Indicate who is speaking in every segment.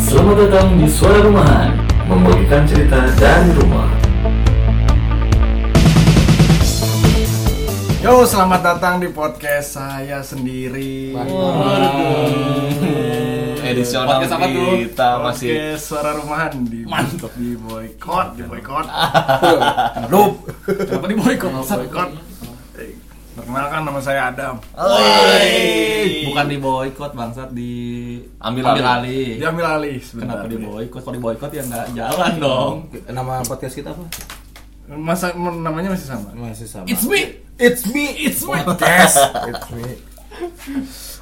Speaker 1: Selamat datang di Suara Rumahan Membagikan cerita dari rumah
Speaker 2: Yo, selamat datang di podcast saya sendiri.
Speaker 3: edisional
Speaker 4: Podcast apa tuh?
Speaker 3: kita masih
Speaker 2: Podcast suara rumahan di
Speaker 4: Mantap.
Speaker 2: di boykot, di boykot.
Speaker 3: Rup.
Speaker 4: Kenapa di boycott?
Speaker 2: boykot. Eh, Perkenalkan nama saya Adam.
Speaker 4: Bukan di boycott bangsat di
Speaker 3: Ambil
Speaker 4: ambil
Speaker 3: alih.
Speaker 4: alih. Iya.
Speaker 2: Diambil alih sebentar.
Speaker 4: Kenapa di boycott? Kalau di boycott ya nggak jalan dong.
Speaker 5: Nama podcast kita apa?
Speaker 2: Masa men- namanya masih sama.
Speaker 5: Masih sama.
Speaker 4: It's me.
Speaker 5: It's me.
Speaker 4: It's me.
Speaker 2: It's me.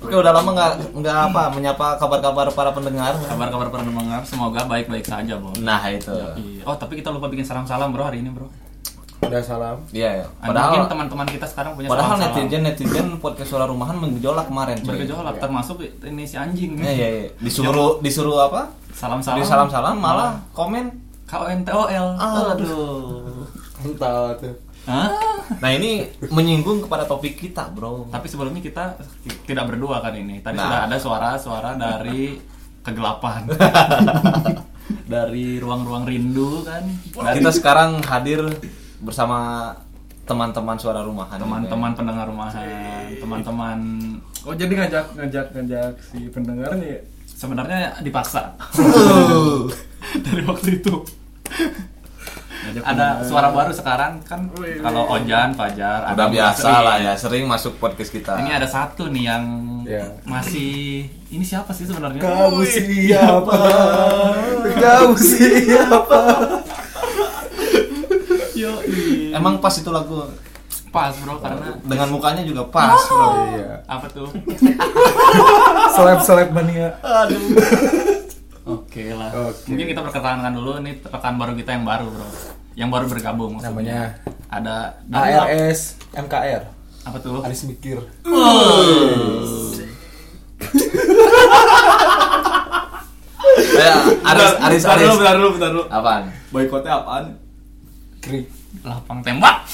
Speaker 5: Oke, udah lama nggak nggak apa menyapa kabar-kabar para pendengar.
Speaker 4: Kabar-kabar para pendengar semoga baik-baik saja, Bro.
Speaker 3: Nah itu.
Speaker 4: Iya. Oh, tapi kita lupa bikin salam-salam, Bro, hari ini, Bro.
Speaker 5: Udah salam.
Speaker 3: Iya. ya.
Speaker 4: Padahal
Speaker 3: Padahal
Speaker 4: teman-teman kita sekarang punya
Speaker 5: Padahal
Speaker 4: salam-salam.
Speaker 5: netizen netizen podcast suara rumahan menggejolak kemarin. coy.
Speaker 4: bergejolak termasuk ini si anjing.
Speaker 5: Iya iya. iya. Disuruh disuruh apa?
Speaker 4: Salam-salam.
Speaker 5: Disuruh salam-salam malah komen.
Speaker 4: KONTOL.
Speaker 5: Ah.
Speaker 4: Aduh.
Speaker 5: Entah tuh.
Speaker 4: Hah?
Speaker 5: Nah ini menyinggung kepada topik kita bro.
Speaker 4: Tapi sebelumnya kita tidak berdua kan ini. Tadi
Speaker 3: Nah.
Speaker 4: sudah ada suara-suara dari kegelapan. dari ruang-ruang rindu kan. Dari
Speaker 5: Kita sekarang hadir bersama teman-teman suara rumahan.
Speaker 4: teman-teman pendengar rumahan, teman-teman
Speaker 2: Oh, jadi ngajak ngajak ngajak si pendengar nih. ya?
Speaker 4: sebenarnya dipaksa. dari waktu itu. ada suara baru sekarang kan
Speaker 2: Wih,
Speaker 4: kalau
Speaker 2: wih.
Speaker 4: Ojan, Fajar,
Speaker 3: udah
Speaker 4: Adam,
Speaker 3: biasa
Speaker 4: Basri.
Speaker 3: lah ya sering masuk podcast kita.
Speaker 4: Ini ada satu nih yang masih ini siapa sih sebenarnya?
Speaker 5: siapa? Kau siapa?
Speaker 4: Yoi.
Speaker 5: Emang pas itu lagu
Speaker 4: pas bro karena
Speaker 5: dengan mukanya juga pas bro.
Speaker 4: apa tuh?
Speaker 2: Seleb-seleb mania.
Speaker 4: Oke lah. Mungkin kita perkenalkan dulu nih rekan baru kita yang baru, Bro. Yang baru bergabung maksudnya. Namanya ada dari lap-
Speaker 5: ARS MKR
Speaker 4: apa tuh?
Speaker 5: Aris Mikir.
Speaker 3: Ya, Aris Aris
Speaker 4: Bentar
Speaker 3: Aris.
Speaker 4: dulu, bentar dulu, bentar dulu.
Speaker 3: Apaan?
Speaker 4: Boikotnya apaan?
Speaker 6: Krik.
Speaker 4: Lapang tembak.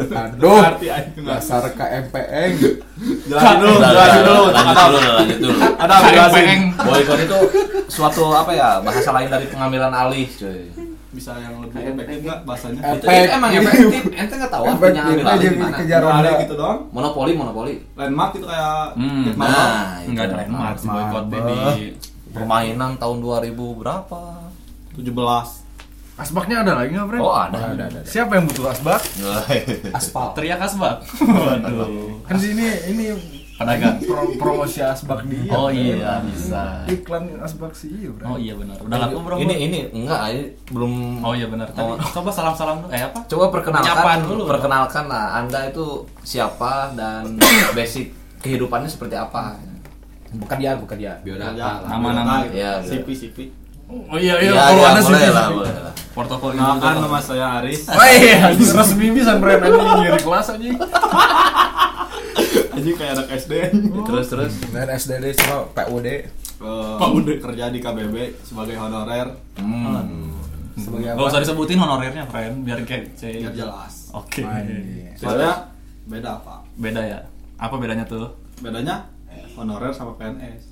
Speaker 6: Aduh,
Speaker 4: Arti anjing.
Speaker 6: dasar KMPN.
Speaker 4: Jelasin dulu, jelasin dulu.
Speaker 3: Lanjut dulu, lanjut dulu.
Speaker 4: Ada pengen
Speaker 3: Boykot itu suatu apa ya bahasa lain dari pengambilan alih, cuy.
Speaker 4: bisa yang lebih efektif enggak bahasanya?
Speaker 3: Itu, itu Eh, emang efektif. Ente nggak tahu
Speaker 6: Efek
Speaker 3: artinya ambil
Speaker 6: kita
Speaker 3: alih
Speaker 6: jadi
Speaker 3: gimana?
Speaker 6: kejar Honda.
Speaker 4: gitu
Speaker 7: doang
Speaker 3: Monopoli, monopoli.
Speaker 7: landmark itu kayak
Speaker 4: Hmm.
Speaker 3: Nah, itu.
Speaker 4: Enggak ada emas boikot baby.
Speaker 5: Permainan tahun 2000 berapa?
Speaker 7: 17
Speaker 2: Asbaknya ada lagi nggak, Bre?
Speaker 3: Oh ada.
Speaker 2: Siapa yang butuh asbak?
Speaker 6: aspal.
Speaker 4: Teriak asbak. Waduh.
Speaker 2: Kan di sini ini
Speaker 4: Pedagang.
Speaker 2: pro- promosi asbak di
Speaker 4: Oh iya bisa.
Speaker 2: iklan asbak sih, iya, Bre.
Speaker 4: Oh iya benar. Udah laku bro.
Speaker 5: Ini ini enggak ini belum
Speaker 4: Oh iya benar. Tadi coba salam-salam dulu. Eh apa?
Speaker 3: Coba perkenalkan,
Speaker 4: Penyapaan dulu, Bro.
Speaker 3: perkenalkan lah Anda itu siapa dan basic kehidupannya seperti apa.
Speaker 5: pekerjaan pekerjaan.
Speaker 4: Nama-nama.
Speaker 3: Iya, gitu.
Speaker 7: sipi sipi
Speaker 2: Oh iya
Speaker 3: Iya,
Speaker 2: iya, kalau
Speaker 3: iya,
Speaker 2: Anda
Speaker 3: boleh
Speaker 2: sih-
Speaker 3: lah, boleh lah.
Speaker 4: Portofolio.
Speaker 7: Kenalkan nama saya Aris
Speaker 2: resmi bisa brand ini nyari kelas aja
Speaker 7: Anjing kayak anak SD
Speaker 3: Terus terus.
Speaker 6: Dan SDD sama PUD
Speaker 7: Eh, Kerja di KBB sebagai honorer
Speaker 6: sebagai
Speaker 4: Gak
Speaker 6: apa?
Speaker 4: usah disebutin honorernya, friend, biar kayak C.
Speaker 7: Biar jelas
Speaker 4: Oke.
Speaker 2: Iya,
Speaker 7: Soalnya beda pak
Speaker 4: Beda ya. Apa bedanya tuh?
Speaker 7: Bedanya
Speaker 4: Eh.
Speaker 7: honorer sama PNS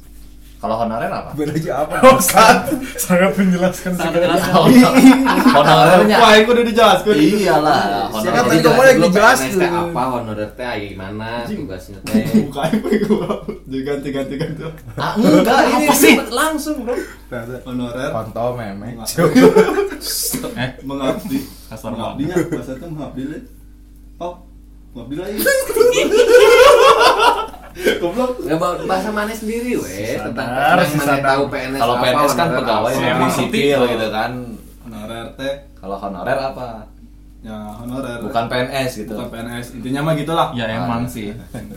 Speaker 3: Kalau honorer apa?
Speaker 6: Bedanya apa?
Speaker 2: sangat menjelaskan
Speaker 4: Sangat jelas kan?
Speaker 3: Kalau
Speaker 4: Ya.
Speaker 3: honorernya
Speaker 7: Wah itu udah dijelaskan
Speaker 4: Iya.
Speaker 8: Iya,
Speaker 3: iyalah
Speaker 5: Siapa
Speaker 3: honorernya
Speaker 5: tadi
Speaker 3: juga.
Speaker 5: kamu lagi
Speaker 3: Lu
Speaker 5: jelas
Speaker 3: PNS
Speaker 5: tuh.
Speaker 3: teh apa honorer teh ayo gimana tugasnya teh
Speaker 7: Bukain gue gue Jadi ganti ganti ganti
Speaker 3: ah enggak ini sih langsung bro
Speaker 7: Honorer
Speaker 6: Kontol memek.
Speaker 4: Eh,
Speaker 7: Mengabdi
Speaker 4: kasar banget.
Speaker 7: Mengabdinya Bahasa itu mengabdi Le. Oh Mengabdi lagi Goblok
Speaker 8: Nggak Ya, ba- bahasa mana sendiri weh tentang
Speaker 2: sadar,
Speaker 8: yang
Speaker 2: si
Speaker 8: mana
Speaker 2: sadar.
Speaker 8: tahu PNS
Speaker 3: kalau
Speaker 8: apa,
Speaker 3: PNS kan
Speaker 8: beneran
Speaker 3: pegawai
Speaker 4: Emang
Speaker 8: apa.
Speaker 3: negeri
Speaker 4: ngerti.
Speaker 3: sipil gitu kan
Speaker 7: Honorer teh
Speaker 3: kalau honorer apa
Speaker 7: Ya honorer
Speaker 3: bukan PNS gitu
Speaker 7: Bukan PNS intinya mah gitulah
Speaker 4: Ya emang sih.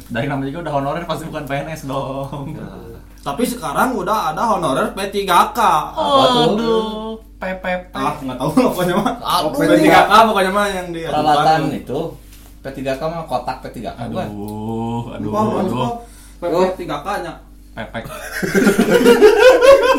Speaker 4: Dari nama juga udah honorer pasti bukan PNS dong.
Speaker 3: Iya.
Speaker 7: tapi sekarang udah ada honorer P3K
Speaker 3: apa
Speaker 4: Oh.
Speaker 3: tuh
Speaker 4: Aduh, PPP.
Speaker 7: ah nggak tahu lah pokoknya mah
Speaker 3: Aduh.
Speaker 7: P3K pokoknya mah yang dia
Speaker 3: peralatan itu P3K mah kotak P3K bukan
Speaker 4: Aduh, aduh,
Speaker 7: Lupa, lupa, lupa.
Speaker 4: aduh.
Speaker 7: P3K nya
Speaker 4: Pepek.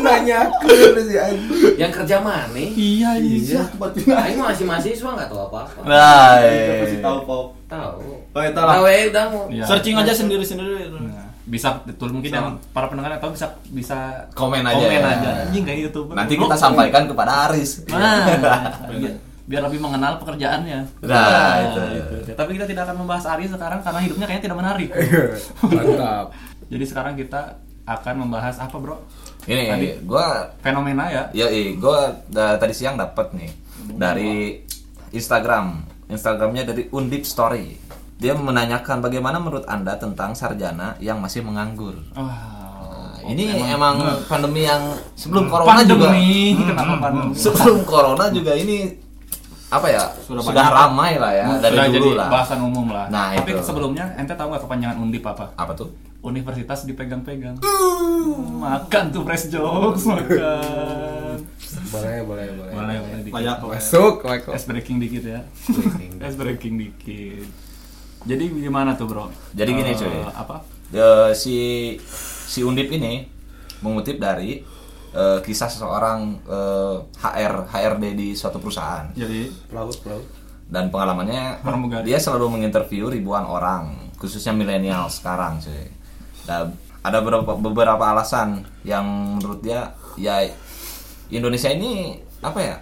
Speaker 6: Nanya ke si anjing.
Speaker 8: yang kerja mana
Speaker 4: Iya, iya.
Speaker 7: kebetulan
Speaker 8: Aing masih mahasiswa nggak tahu apa apa
Speaker 3: nah
Speaker 7: Iya, pasti tahu pok
Speaker 8: tahu
Speaker 7: oh itu
Speaker 8: tahu
Speaker 7: lah
Speaker 8: weh udah mau
Speaker 4: Iya.
Speaker 7: searching aja sendiri sendiri
Speaker 4: Nah, bisa betul mungkin yang para pendengar atau bisa bisa
Speaker 5: Komen aja
Speaker 4: komen
Speaker 5: ya.
Speaker 4: aja anjing kayak youtuber
Speaker 5: Nanti
Speaker 4: Lu-
Speaker 5: kita sampaikan kepada Aris.
Speaker 4: nah biar, biar lebih mengenal pekerjaannya
Speaker 5: Nah, itu.
Speaker 4: tapi kita tidak akan membahas Ari sekarang karena hidupnya kayaknya tidak menarik
Speaker 5: Iya.
Speaker 6: Mantap.
Speaker 4: jadi sekarang kita akan membahas apa bro Tadi.
Speaker 5: Ini gua
Speaker 4: fenomena ya
Speaker 5: Ya, gue tadi siang dapat nih dari Instagram. Instagramnya dari Undip Story. Dia menanyakan bagaimana menurut anda tentang sarjana yang masih menganggur.
Speaker 4: Wah,
Speaker 5: Nah, ini emang, pandemi yang sebelum corona
Speaker 4: pandemi
Speaker 5: juga. Hmm.
Speaker 4: kenapa pandemi
Speaker 5: Sebelum corona juga ini apa ya sudah,
Speaker 7: Sudah banyak.
Speaker 5: ramai lah ya dari
Speaker 4: Nah, Sudah
Speaker 5: dulu
Speaker 4: jadi
Speaker 5: lah.
Speaker 4: bahasan umum lah
Speaker 5: Nah,
Speaker 4: tapi
Speaker 5: itu.
Speaker 4: sebelumnya ente tahu nggak kepanjangan undip apa
Speaker 5: Apa tuh?
Speaker 4: universitas dipegang-pegang makan tuh fresh jokes makan
Speaker 6: Boleh, boleh, boleh.
Speaker 4: boleh boleh dikit.
Speaker 7: Layak kok.
Speaker 6: Masuk, Michael.
Speaker 4: Ice breaking dikit ya. Ice breaking dikit. Jadi gimana tuh bro?
Speaker 5: Jadi gini,
Speaker 4: Eh,
Speaker 5: cuy.
Speaker 4: Apa?
Speaker 5: Eh, si si Undip ini mengutip dari eh, kisah seseorang eh, HR HRD di suatu perusahaan
Speaker 4: Jadi
Speaker 6: Pelaut, pelaut.
Speaker 5: dan pengalamannya
Speaker 4: Pramugari.
Speaker 5: dia selalu menginterview ribuan orang khususnya milenial sekarang cuy. Nah, ada beberapa beberapa alasan yang menurut dia ya Indonesia ini apa ya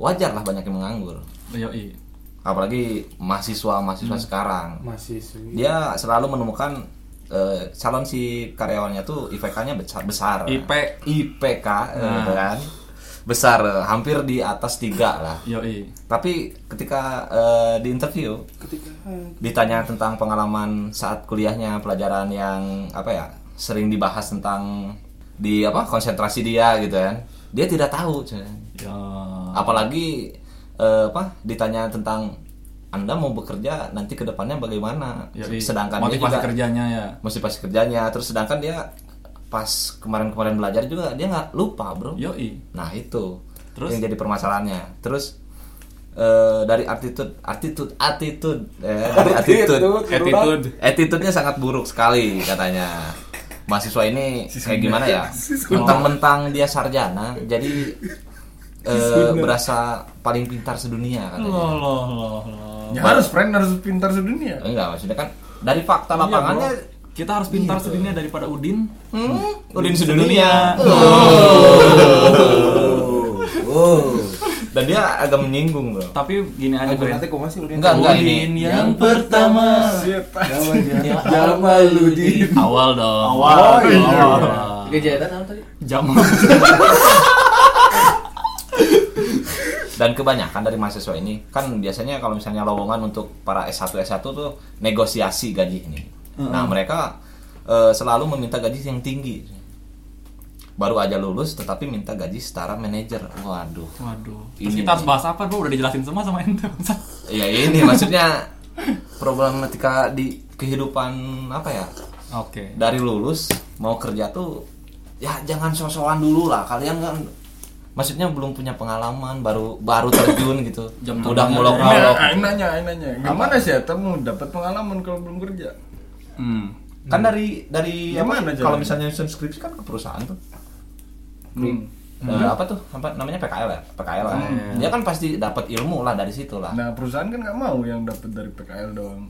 Speaker 5: wajar lah banyak yang menganggur
Speaker 4: yoi.
Speaker 5: apalagi mahasiswa mahasiswa sekarang
Speaker 2: masih sulit
Speaker 5: dia selalu menemukan eh, calon si karyawannya tuh IPK-nya besar, besar.
Speaker 4: IP.
Speaker 5: IPK eh, kan besar eh, hampir di atas tiga lah
Speaker 4: Yoi.
Speaker 5: tapi ketika eh, di interview ditanya tentang pengalaman saat kuliahnya pelajaran yang apa ya sering dibahas tentang di apa konsentrasi dia gitu kan dia tidak tahu cuy
Speaker 4: Ya.
Speaker 5: apalagi eh, apa ditanya tentang anda mau bekerja nanti ke depannya bagaimana
Speaker 4: Yoi.
Speaker 5: sedangkan dia
Speaker 4: Ya, motivasi
Speaker 5: juga-
Speaker 4: kerjanya ya.
Speaker 5: motivasi kerjanya terus sedangkan dia pas kemarin-kemarin belajar juga dia nggak lupa bro
Speaker 4: Yoi.
Speaker 5: nah itu
Speaker 4: Terus?
Speaker 5: yang jadi permasalahannya terus eh, dari attitude attitude attitude eh, dari attitude
Speaker 4: Attitude.
Speaker 5: attitude-nya sangat buruk sekali katanya mahasiswa ini kayak gimana ya mentang-mentang dia sarjana jadi eh, berasa paling pintar sedunia katanya
Speaker 4: Loh loh loh loh.
Speaker 2: ya, harus friend harus pintar sedunia
Speaker 5: enggak maksudnya kan dari fakta lapangannya
Speaker 4: Kita harus pintar sedunia daripada Udin.
Speaker 5: hmm, udin sedunia Oh. dan Oh. dia ya. agak menyinggung bro
Speaker 4: Tapi gini aja bro.
Speaker 6: Nanti kok masih udah.
Speaker 5: enggak enggak ini
Speaker 4: Udin yang pertama.
Speaker 6: Jamaludin.
Speaker 4: Awal dong.
Speaker 7: Awal.
Speaker 8: Kejahatan apa tadi?
Speaker 4: Jamal.
Speaker 5: dan kebanyakan dari mahasiswa ini kan biasanya kalau misalnya lowongan untuk para S1 S1 tuh negosiasi gaji ini. Nah, mereka eh, selalu meminta gaji yang tinggi. Baru aja lulus tetapi minta gaji setara manajer. Waduh.
Speaker 4: Waduh. Terus
Speaker 5: Ini.
Speaker 4: kita harus bahas apa bro? Udah dijelasin semua sama ente. bangsat.
Speaker 5: Ya ini maksudnya problematika di kehidupan apa ya?
Speaker 4: Oke.
Speaker 5: Dari lulus mau kerja tuh ya jangan sosokan dulu lah. Kalian kan maksudnya belum punya pengalaman baru baru terjun gitu.
Speaker 4: Jam
Speaker 5: Udah
Speaker 4: tangan.
Speaker 5: mulok-mulok.
Speaker 2: Nah, aing nanya, aing nanya. Gimana sih ya mau dapat pengalaman kalau belum kerja?
Speaker 4: Hmm.
Speaker 5: kan dari dari apa,
Speaker 2: Gimana
Speaker 5: kalau
Speaker 2: jalannya?
Speaker 5: misalnya nyusun skripsi kan ke perusahaan tuh
Speaker 4: Hmm.
Speaker 5: Eh, apa tuh apa namanya PKL ya PKL kan dia kan pasti dapat ilmu lah dari situ lah
Speaker 2: Nah perusahaan kan nggak mau yang dapat dari PKL doang.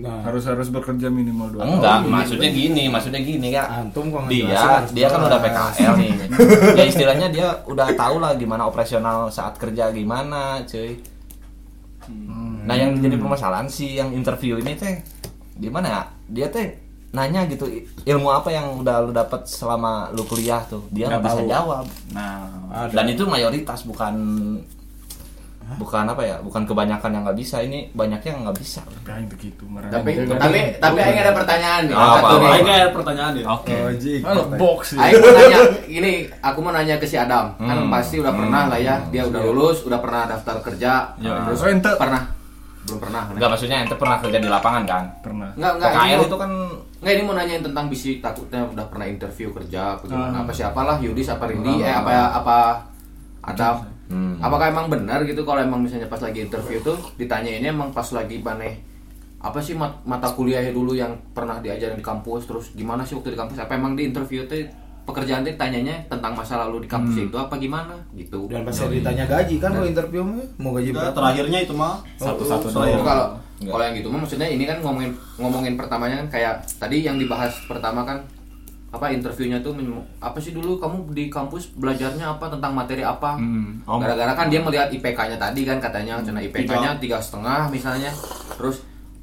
Speaker 6: Nah,
Speaker 2: Harus harus bekerja minimal dua
Speaker 5: enggak
Speaker 2: tahun.
Speaker 5: maksudnya gini maksudnya gini ya
Speaker 6: antum kok
Speaker 5: dia dia kan udah PKL nih ya istilahnya dia udah tahu lah gimana operasional saat kerja gimana cuy nah yang jadi permasalahan si yang interview ini teh gimana ya dia teh nanya gitu "I- ilmu apa yang udah lu dapat selama lu kuliah tuh dia nggak
Speaker 4: Nggak
Speaker 5: bisa
Speaker 4: tahu.
Speaker 5: jawab
Speaker 4: Nah,
Speaker 5: dan itu mayoritas bukan bukan apa ya bukan kebanyakan yang nggak bisa ini banyak yang nggak bisa
Speaker 2: Tapi aing begitu marah.
Speaker 8: Tapi tapi tapi aing ada pertanyaan nih.
Speaker 5: Apa,
Speaker 8: Apa tuh
Speaker 5: apa,
Speaker 8: nih?
Speaker 7: Aing ada pertanyaan ya.
Speaker 4: oke.
Speaker 2: Malah box ya. sih.
Speaker 8: Aing mau nanya, ini aku mau nanya ke si Adam. Kan
Speaker 5: Hmm.
Speaker 8: pasti udah pernah lah ya, dia udah lulus, udah pernah daftar kerja, terus
Speaker 2: Oh, ente.
Speaker 8: pernah belum pernah. kan?
Speaker 5: nggak maksudnya ente pernah kerja di lapangan kan
Speaker 2: Pernah.
Speaker 8: Enggak, enggak. ini
Speaker 5: KL
Speaker 8: mau-
Speaker 5: itu kan
Speaker 8: Nggak ini mau nanyain tentang bisik takutnya udah pernah interview kerja apa gimana apa siapalah Yudis apa Rindi eh apa apa Adam
Speaker 5: Hmm.
Speaker 8: apakah emang benar gitu kalau emang misalnya pas lagi interview tuh ditanyainnya emang pas lagi maneh apa sih mat- mata kuliahnya dulu yang pernah diajarin di kampus terus gimana sih waktu di kampus apa emang di interview tuh pekerjaan tuh ditanyanya tentang masa lalu di kampus itu apa gimana gitu
Speaker 6: Dan pasti ditanya gaji kan kalau interview mah mau gaji
Speaker 7: Udah,
Speaker 6: berapa?
Speaker 7: terakhirnya itu mah
Speaker 4: Satu-satu
Speaker 7: Oh,
Speaker 8: Jadi
Speaker 4: doang.
Speaker 8: kalau Kalau yang gitu mah maksudnya ini kan ngomongin ngomongin pertamanya kan kayak tadi yang dibahas pertama kan apa interviewnya tuh men- apa sih dulu kamu di kampus belajarnya apa tentang materi apa gara-gara kan dia melihat IPK-nya tadi kan katanya karena IPK-nya tiga setengah misalnya terus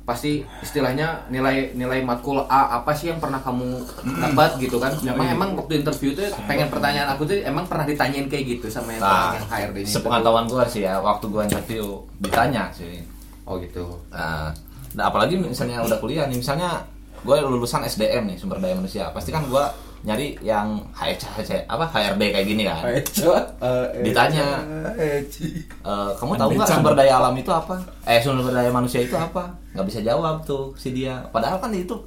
Speaker 8: pasti istilahnya nilai nilai matkul A apa sih yang pernah kamu dapat gitu kan emang emang waktu interview tuh pengen pertanyaan aku tuh emang pernah ditanyain kayak gitu sama yang,
Speaker 5: Nah,
Speaker 8: yang HRD -nya itu.
Speaker 5: sepengetahuan gue sih ya waktu gue interview ditanya sih
Speaker 8: oh gitu
Speaker 5: Nah, nah, apalagi misalnya udah kuliah nih, misalnya gue lulusan SDM nih sumber daya manusia, pasti kan gue nyari yang HRC, apa HRD kayak gini kan.
Speaker 4: Eh,
Speaker 5: Ditanya, "Eh, kamu tahu nggak sumber daya alam itu apa? Eh sumber daya manusia itu apa? Nggak bisa jawab tuh si dia. Padahal kan itu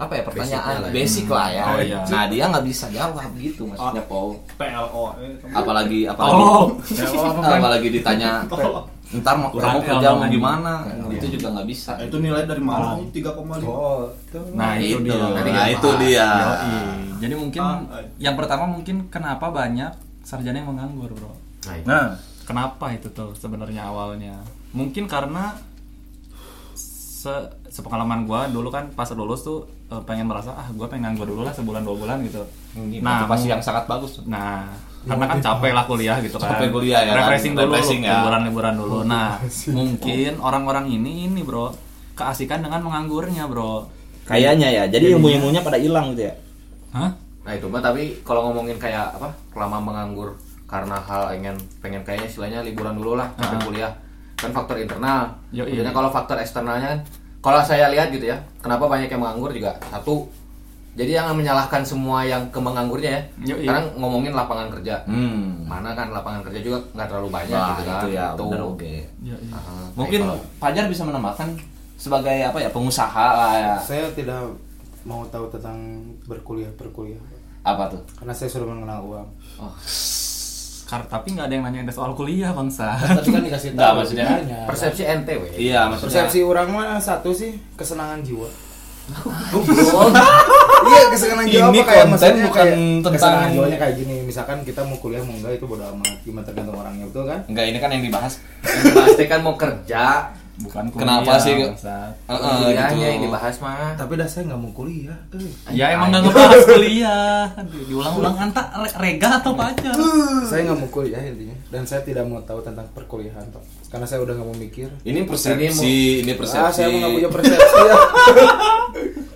Speaker 5: apa ya pertanyaan
Speaker 8: Basicnya lah ya.
Speaker 5: basic lah ya.
Speaker 4: Oh, iya.
Speaker 5: Nah dia nggak bisa jawab gitu maksudnya Paul.
Speaker 7: PLO.
Speaker 5: Apalagi apalagi apalagi ditanya ntar mau
Speaker 4: Kurang
Speaker 5: kamu kerja mau
Speaker 4: ilmu.
Speaker 5: gimana? Nah, Itu juga nggak bisa.
Speaker 7: Nah, Itu nilai dari mana? Oh, 3,5.
Speaker 4: Nah, itu dia.
Speaker 5: Nah, itu dia.
Speaker 4: Yoi. Jadi mungkin
Speaker 7: Ah, ah.
Speaker 4: yang pertama mungkin kenapa banyak sarjana yang menganggur, Bro?
Speaker 8: Nah, itu.
Speaker 2: Nah,
Speaker 4: Kenapa itu tuh sebenarnya awalnya? Mungkin karena se- sepengalaman gua dulu kan pas lulus tuh eh, pengen merasa ah gua pengen nganggur dulu lah sebulan dua bulan gitu.
Speaker 5: Nah,
Speaker 4: mung-
Speaker 5: pasti yang sangat bagus.
Speaker 4: Nah, karena kan capek lah kuliah gitu kan.
Speaker 5: Capek kuliah ya kan?
Speaker 4: Refreshing dulu,
Speaker 5: Refreshing ya.
Speaker 4: liburan-liburan dulu. Nah, mungkin orang-orang ini ini, Bro, keasikan dengan menganggurnya, Bro.
Speaker 5: Kayaknya ya. Jadi ilmu-ilmunya pada hilang gitu ya.
Speaker 4: Hah?
Speaker 8: Nah itu mah tapi kalau ngomongin kayak apa lama menganggur karena hal ingin pengen kayaknya istilahnya liburan dulu lah sampai kuliah kan faktor internal.
Speaker 4: Ah. Yoi.
Speaker 8: Maksudnya kalau faktor eksternalnya kan, kalau saya lihat gitu ya kenapa banyak yang menganggur juga satu jadi jangan menyalahkan semua yang ke menganggurnya ya.
Speaker 4: Yoi.
Speaker 8: Sekarang ngomongin lapangan kerja
Speaker 5: Hmm.
Speaker 8: mana kan lapangan kerja juga nggak terlalu banyak
Speaker 5: Wah,
Speaker 8: gitu kan.
Speaker 5: itu ya,
Speaker 8: Gitu.
Speaker 5: benar oke.
Speaker 4: Ya, iya.
Speaker 8: Ah,
Speaker 5: Mungkin
Speaker 8: kayak
Speaker 5: Fajar bisa menambahkan sebagai apa ya pengusaha lah ya.
Speaker 6: Saya tidak mau tahu tentang berkuliah berkuliah
Speaker 5: Apa tuh?
Speaker 6: karena saya sudah mengenal uang.
Speaker 4: Kar- tapi nggak ada yang nanyain soal kuliah bangsa.
Speaker 9: Tapi kan dikasih
Speaker 5: Enggak
Speaker 9: tahu.
Speaker 5: maksudnya.
Speaker 8: kalau persepsi NTW.
Speaker 5: Iya, maksudnya
Speaker 6: Persepsi orang mah satu sih kesenangan jiwa. Oh. iya kesenangan
Speaker 5: Ini
Speaker 6: jiwa apa kayak
Speaker 5: konten
Speaker 6: maksudnya
Speaker 5: bukan
Speaker 6: kayak
Speaker 5: tentang-
Speaker 6: kesenangan jiwanya kayak gini misalkan kita mau kuliah mau enggak itu bodo amat cuma tergantung orangnya betul kan
Speaker 5: enggak ini kan yang dibahas.
Speaker 8: Yang pasti kan mau kerja
Speaker 4: Bukan kuliah.
Speaker 5: Kenapa sih?
Speaker 4: bangsat.
Speaker 5: Heeh,
Speaker 6: Iya,
Speaker 8: kuliahnya
Speaker 5: gitu.
Speaker 8: yang dibahas mah.
Speaker 6: tapi dah saya nggak mau kuliah eh.
Speaker 4: Ya emang nggak ngebahas kuliah. Aduh, Diulang-ulang anta re- rega atau pacar?
Speaker 6: saya nggak mau kuliah intinya dan saya tidak mau tahu tentang perkuliahan Pak. karena saya udah nggak mau mikir
Speaker 5: Ini persepsi, ini persepsi.
Speaker 6: ah saya mau nggak punya persepsi ya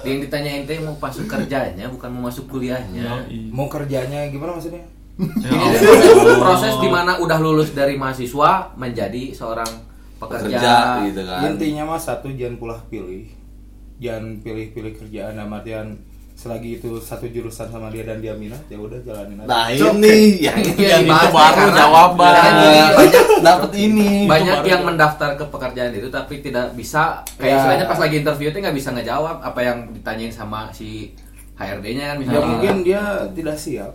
Speaker 8: Yang ditanyain teh mau masuk kerjanya bukan mau masuk kuliahnya.
Speaker 6: mau kerjanya gimana maksudnya
Speaker 8: Ini tuh proses, proses dimana udah lulus dari mahasiswa menjadi seorang pekerja.
Speaker 5: kerja
Speaker 6: Ya,
Speaker 5: gitu kan.
Speaker 6: intinya mah satu jangan pulah pilih jangan pilih-pilih kerjaan dalam artian selagi itu satu jurusan sama dia dan dia minat ya udah jalanin aja
Speaker 5: Nah, ini yang
Speaker 6: Iya,
Speaker 8: Itu
Speaker 5: yang
Speaker 8: yang dibahas
Speaker 5: itu baru
Speaker 8: karena-
Speaker 5: jawaban.
Speaker 8: karena gini, banyak-
Speaker 5: Dapat ini.
Speaker 8: Banyak yang mendaftar ke pekerjaan itu tapi tidak bisa kayak
Speaker 6: Ya.
Speaker 8: istilahnya pas lagi interview teh nggak bisa ngejawab apa yang ditanyain sama si HRD-nya kan
Speaker 6: ya
Speaker 8: misalnya.
Speaker 6: mungkin dia tidak siap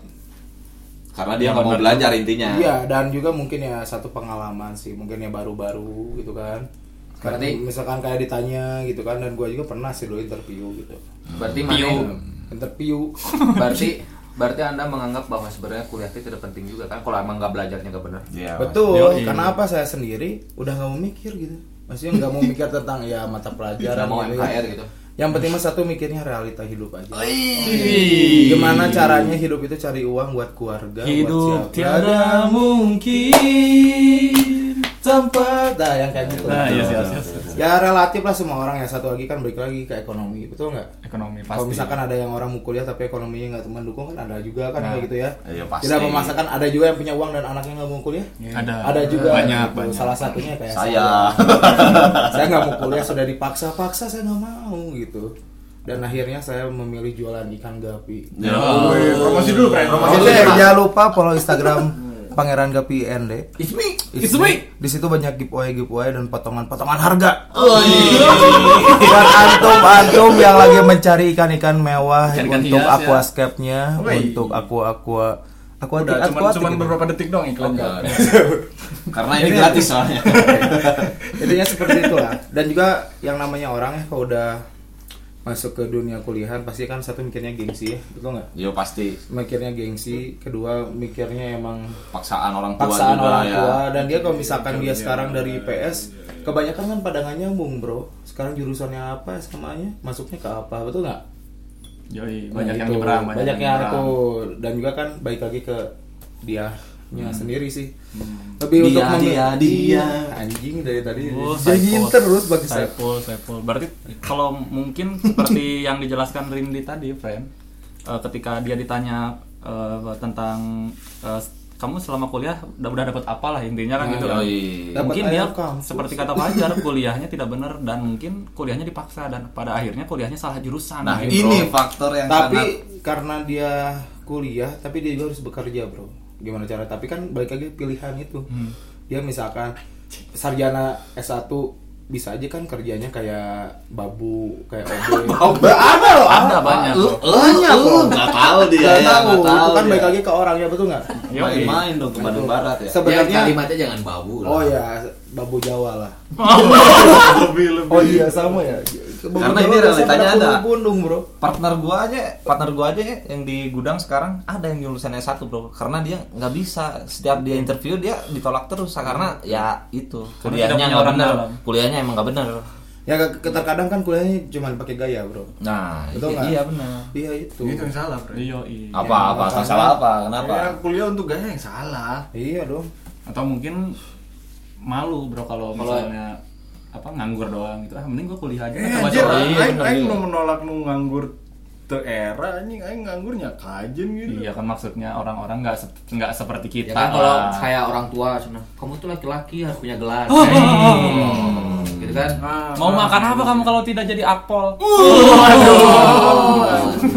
Speaker 5: Karena dia nggak mau belajar intinya.
Speaker 6: Iya, dan juga mungkin ya satu pengalaman sih, mungkin ya baru-baru gitu kan. Sekarang
Speaker 8: Berarti-
Speaker 6: misalkan kayak ditanya gitu kan, dan gue juga pernah sih dulu interview gitu.
Speaker 8: berarti mana?
Speaker 5: Hmm.
Speaker 6: Interview,
Speaker 8: Berarti berarti Anda menganggap bahwa sebenarnya kuliah itu tidak penting juga kan kalau emang nggak belajarnya nggak benar.
Speaker 5: Iya.
Speaker 6: betul. Kenapa saya sendiri udah nggak mau mikir gitu? Maksudnya nggak mau mikir tentang ya mata
Speaker 8: Nggak
Speaker 6: pelajaran,
Speaker 8: mau
Speaker 6: gitu.
Speaker 8: MKR gitu.
Speaker 6: Yang penting mah satu mikirnya realita hidup aja. Gimana caranya hidup itu cari uang buat keluarga,
Speaker 4: Hidup
Speaker 6: buat siapa? Ada
Speaker 4: tiada mungkin.
Speaker 6: tempat, nah yang kayak gitu.
Speaker 4: Nah, iya, iya, iya.
Speaker 6: Ya relatif lah semua orang ya satu lagi kan balik lagi ke ekonomi, betul nggak?
Speaker 4: Ekonomi pasti.
Speaker 6: Kalau misalkan ada yang orang mau kuliah tapi ekonominya nggak mendukung kan ada juga kan
Speaker 4: Nah,
Speaker 6: kayak gitu ya.
Speaker 5: iya, pasti.
Speaker 6: Tidak memaksakan ada juga yang punya uang dan anaknya nggak mau kuliah.
Speaker 4: Ada.
Speaker 6: Ada juga
Speaker 4: Banyak,
Speaker 6: gitu.
Speaker 4: banyak.
Speaker 6: Salah satunya kayak
Speaker 5: Saya.
Speaker 6: saya. saya nggak mau kuliah sudah dipaksa-paksa saya nggak mau gitu. Dan akhirnya saya memilih jualan ikan gapi.
Speaker 2: wih, promosi dulu, Pren. Promosi
Speaker 6: Oke,
Speaker 2: dulu.
Speaker 6: jangan lupa follow Instagram Pangeran Gapi ND.
Speaker 8: It's me.
Speaker 6: It's me. Di situ banyak giveaway giveaway dan potongan-potongan harga. Buat antum-antum yang lagi mencari ikan-ikan mewah
Speaker 4: Ikan-ikan
Speaker 6: untuk
Speaker 4: hias, ya.
Speaker 6: aquascape-nya,
Speaker 2: Woi.
Speaker 6: untuk aqua aqua aqua
Speaker 2: Udah,
Speaker 6: aquatic,
Speaker 2: cuman
Speaker 6: aquatic
Speaker 2: cuman
Speaker 6: gitu.
Speaker 2: beberapa detik dong
Speaker 6: Iya.
Speaker 2: iklannya.
Speaker 5: Karena ini gratis soalnya.
Speaker 6: Intinya seperti itulah. Dan juga yang namanya orang ya kalau udah masuk ke dunia kuliahan pasti kan satu mikirnya gengsi ya, betul nggak?
Speaker 5: Yo Iya, pasti
Speaker 6: Mikirnya gengsi, kedua mikirnya emang
Speaker 5: paksaan orang tua
Speaker 6: paksaan
Speaker 5: juga ya.
Speaker 6: orang
Speaker 5: Iya,
Speaker 6: tua dan dia kalau misalkan dia sekarang dari IPS kebanyakan kan pada nggak nyambung bro sekarang jurusannya apa SMA-nya masuknya ke apa betul nggak
Speaker 4: Yoi,
Speaker 6: Nah,
Speaker 4: banyak yang
Speaker 6: itu.
Speaker 4: nyebrang,
Speaker 6: banyak, yang
Speaker 4: nyebrang.
Speaker 6: itu dan juga kan baik lagi ke dia sendiri sih lebih untuk
Speaker 5: Hmm. Dia,
Speaker 6: meng-
Speaker 5: dia, dia.
Speaker 6: anjing dari tadi
Speaker 4: Oh,
Speaker 6: jadiin
Speaker 4: psycho.
Speaker 6: terus bagi saya
Speaker 4: Saipul, Saipul. Berarti kalau mungkin seperti yang dijelaskan Rindi tadi, friend, eh, ketika dia ditanya eh, tentang eh, kamu selama kuliah udah udah dapat apa lah intinya kan gitu kan.
Speaker 5: Ah, Yoi.
Speaker 6: Dapat
Speaker 4: Mungkin
Speaker 6: ayam
Speaker 4: dia
Speaker 6: kampus.
Speaker 4: seperti kata Fajar kuliahnya tidak benar dan mungkin kuliahnya dipaksa dan pada akhirnya kuliahnya salah jurusan.
Speaker 5: Nah,
Speaker 4: gitu.
Speaker 5: ini faktor yang
Speaker 6: tapi
Speaker 5: sangat
Speaker 6: karena dia kuliah tapi dia juga harus bekerja bro gimana cara tapi kan balik lagi pilihan itu
Speaker 5: Hmm.
Speaker 6: dia misalkan sarjana S1 bisa aja kan kerjanya kayak babu kayak OB ada loh
Speaker 4: ada banyak.
Speaker 5: lu
Speaker 4: loh.
Speaker 5: banyak
Speaker 6: bro.
Speaker 5: nggak tahu dia
Speaker 6: Nggak
Speaker 5: ya Iya.
Speaker 6: tahu,
Speaker 5: nggak tahu
Speaker 6: itu kan
Speaker 5: dia.
Speaker 6: balik lagi ke orangnya betul nggak
Speaker 4: Yoi.
Speaker 5: main-main dong ke Bandung Barat ya
Speaker 8: Ya,
Speaker 6: sebenarnya
Speaker 8: kalimatnya jangan babu lah.
Speaker 6: oh ya babu Jawa lah oh iya sama ya Babu
Speaker 5: Karena
Speaker 6: Jawa
Speaker 5: ini
Speaker 6: biasanya
Speaker 5: realitanya
Speaker 6: pada
Speaker 5: ada.
Speaker 6: pundung-pundung, bro
Speaker 5: partner gua aja partner gua aja ya, yang di gudang sekarang ada yang lulusan S1 bro karena dia nggak bisa setiap dia interview dia ditolak terus karena ya itu
Speaker 4: Karena tidak
Speaker 5: kuliahnya
Speaker 4: punya
Speaker 5: nggak
Speaker 4: orang
Speaker 5: benar
Speaker 4: dalam.
Speaker 5: kuliahnya emang nggak benar
Speaker 6: ya ke- terkadang kan kuliahnya cuma pakai gaya bro
Speaker 5: nah
Speaker 6: Betul
Speaker 5: iya-
Speaker 6: nggak?
Speaker 5: iya benar
Speaker 6: iya itu
Speaker 5: Gitu.
Speaker 2: Itu Gitu yang salah, Bro.
Speaker 4: Yoi.
Speaker 5: apa apa
Speaker 6: makanya-
Speaker 5: masalah apa Iya. kenapa
Speaker 7: Ya, kuliah untuk gaya yang salah.
Speaker 6: iya dong
Speaker 4: atau mungkin malu bro kalau misalnya apa nganggur doang gitu ah mending gua kuliah aja
Speaker 2: Eh,
Speaker 4: coba
Speaker 2: anjir, iya.
Speaker 4: coba
Speaker 2: aing aing nu menolak nu nganggur teu era anjing aing nganggurnya kajen gitu.
Speaker 4: iya kan maksudnya orang-orang nggak sep- nggak seperti kita
Speaker 8: Ya kan kalau
Speaker 4: lah.
Speaker 8: kayak orang tua sana, kamu tuh laki-laki harus punya gelar.
Speaker 5: Oh,
Speaker 8: gitu kan?
Speaker 2: Ah,
Speaker 4: mau makan apa kamu kalau tidak jadi apol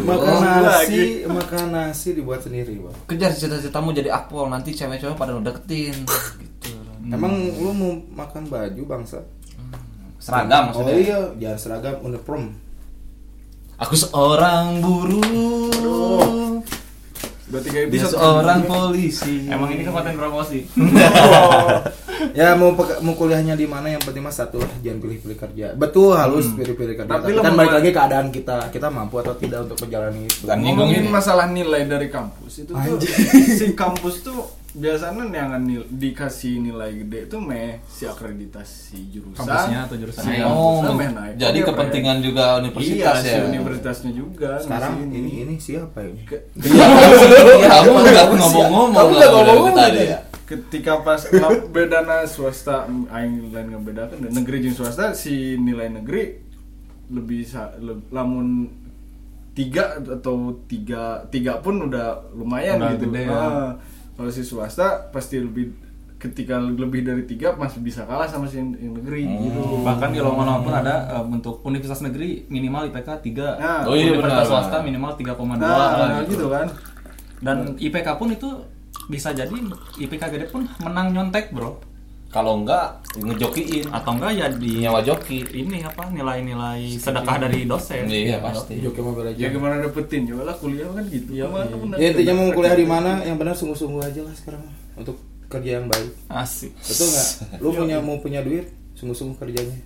Speaker 6: makan nasi makan nasi dibuat sendiri bang
Speaker 5: kejar cita-citamu jadi akpol nanti cewek-cewek pada ngedeketin gitu
Speaker 6: emang
Speaker 7: Hmm.
Speaker 6: lu mau makan baju bangsa
Speaker 5: seragam
Speaker 6: oh
Speaker 5: maksudnya
Speaker 6: iya jangan seragam uniform
Speaker 5: aku seorang
Speaker 8: Oh.
Speaker 5: buruh
Speaker 7: Udah tiga
Speaker 5: dia
Speaker 7: episode.
Speaker 5: seorang polisi
Speaker 4: emang ini kan konten promosi
Speaker 6: ya mau peka- mau kuliahnya di mana yang penting mas satu lah jangan pilih-pilih kerja betul halus
Speaker 5: Hmm.
Speaker 6: pilih-pilih kerja
Speaker 7: Tapi
Speaker 6: tapi,
Speaker 7: lu
Speaker 6: kan
Speaker 7: mau-
Speaker 6: balik lagi keadaan kita kita mampu atau tidak untuk menjalani itu
Speaker 5: Bukan
Speaker 2: Ngomongin
Speaker 5: ngomongin
Speaker 2: masalah nilai dari kampus itu tuh si kampus tuh biasanya yang nil- dikasih nilai gede tuh meh si akreditasi jurusan.
Speaker 4: Kampusnya atau jurusan?
Speaker 2: Si
Speaker 5: Oh,
Speaker 2: kampusnya meh naik.
Speaker 5: jadi
Speaker 2: Oke,
Speaker 5: kepentingan juga
Speaker 2: Bro. Iya,
Speaker 5: universitas
Speaker 2: si
Speaker 5: ya.
Speaker 2: universitasnya juga
Speaker 6: sekarang
Speaker 2: ngasihin
Speaker 6: ini ini siapa ya
Speaker 5: Iya, kamu nggak ngomong-ngomong. Kamu nggak ngomong tadi.
Speaker 2: ketika pas lap- bedana swasta aing lain ngebedakan dan negeri jeung swasta si nilai negeri lebih sa- le- lamun tiga atau tiga tiga pun udah lumayan
Speaker 4: Udah
Speaker 2: gitu
Speaker 4: gede ya.
Speaker 2: Ah, kalau si swasta pasti lebih ketika lebih dari tiga masih bisa kalah sama si yang negeri
Speaker 6: Hmm.
Speaker 2: gitu
Speaker 4: bahkan di Longmonong pun ada eh, untuk universitas negeri minimal IPK 3
Speaker 2: Nah.
Speaker 5: Oh iya,
Speaker 4: universitas
Speaker 5: benar.
Speaker 4: swasta minimal 3,2 lah
Speaker 2: nah, gitu kan
Speaker 4: dan IPK pun itu bisa jadi IPK gede pun menang nyontek bro
Speaker 5: Kalau enggak ngejokiin
Speaker 4: atau enggak ya di
Speaker 5: nyawa joki.
Speaker 4: ini apa nilai-nilai sedekah dari dosen
Speaker 5: Iya pasti.
Speaker 6: Joki Mobile
Speaker 2: ya
Speaker 6: Legends.
Speaker 2: gimana dapetin coba lah kuliah kan gitu Kemana pun
Speaker 6: Iya. ya intinya mau
Speaker 2: dapetin.
Speaker 6: kuliah di mana yang benar sungguh-sungguh aja lah sekarang untuk kerja yang baik
Speaker 4: asik
Speaker 6: betul nggak lu
Speaker 7: Iya,
Speaker 6: punya mau punya duit sungguh-sungguh kerjanya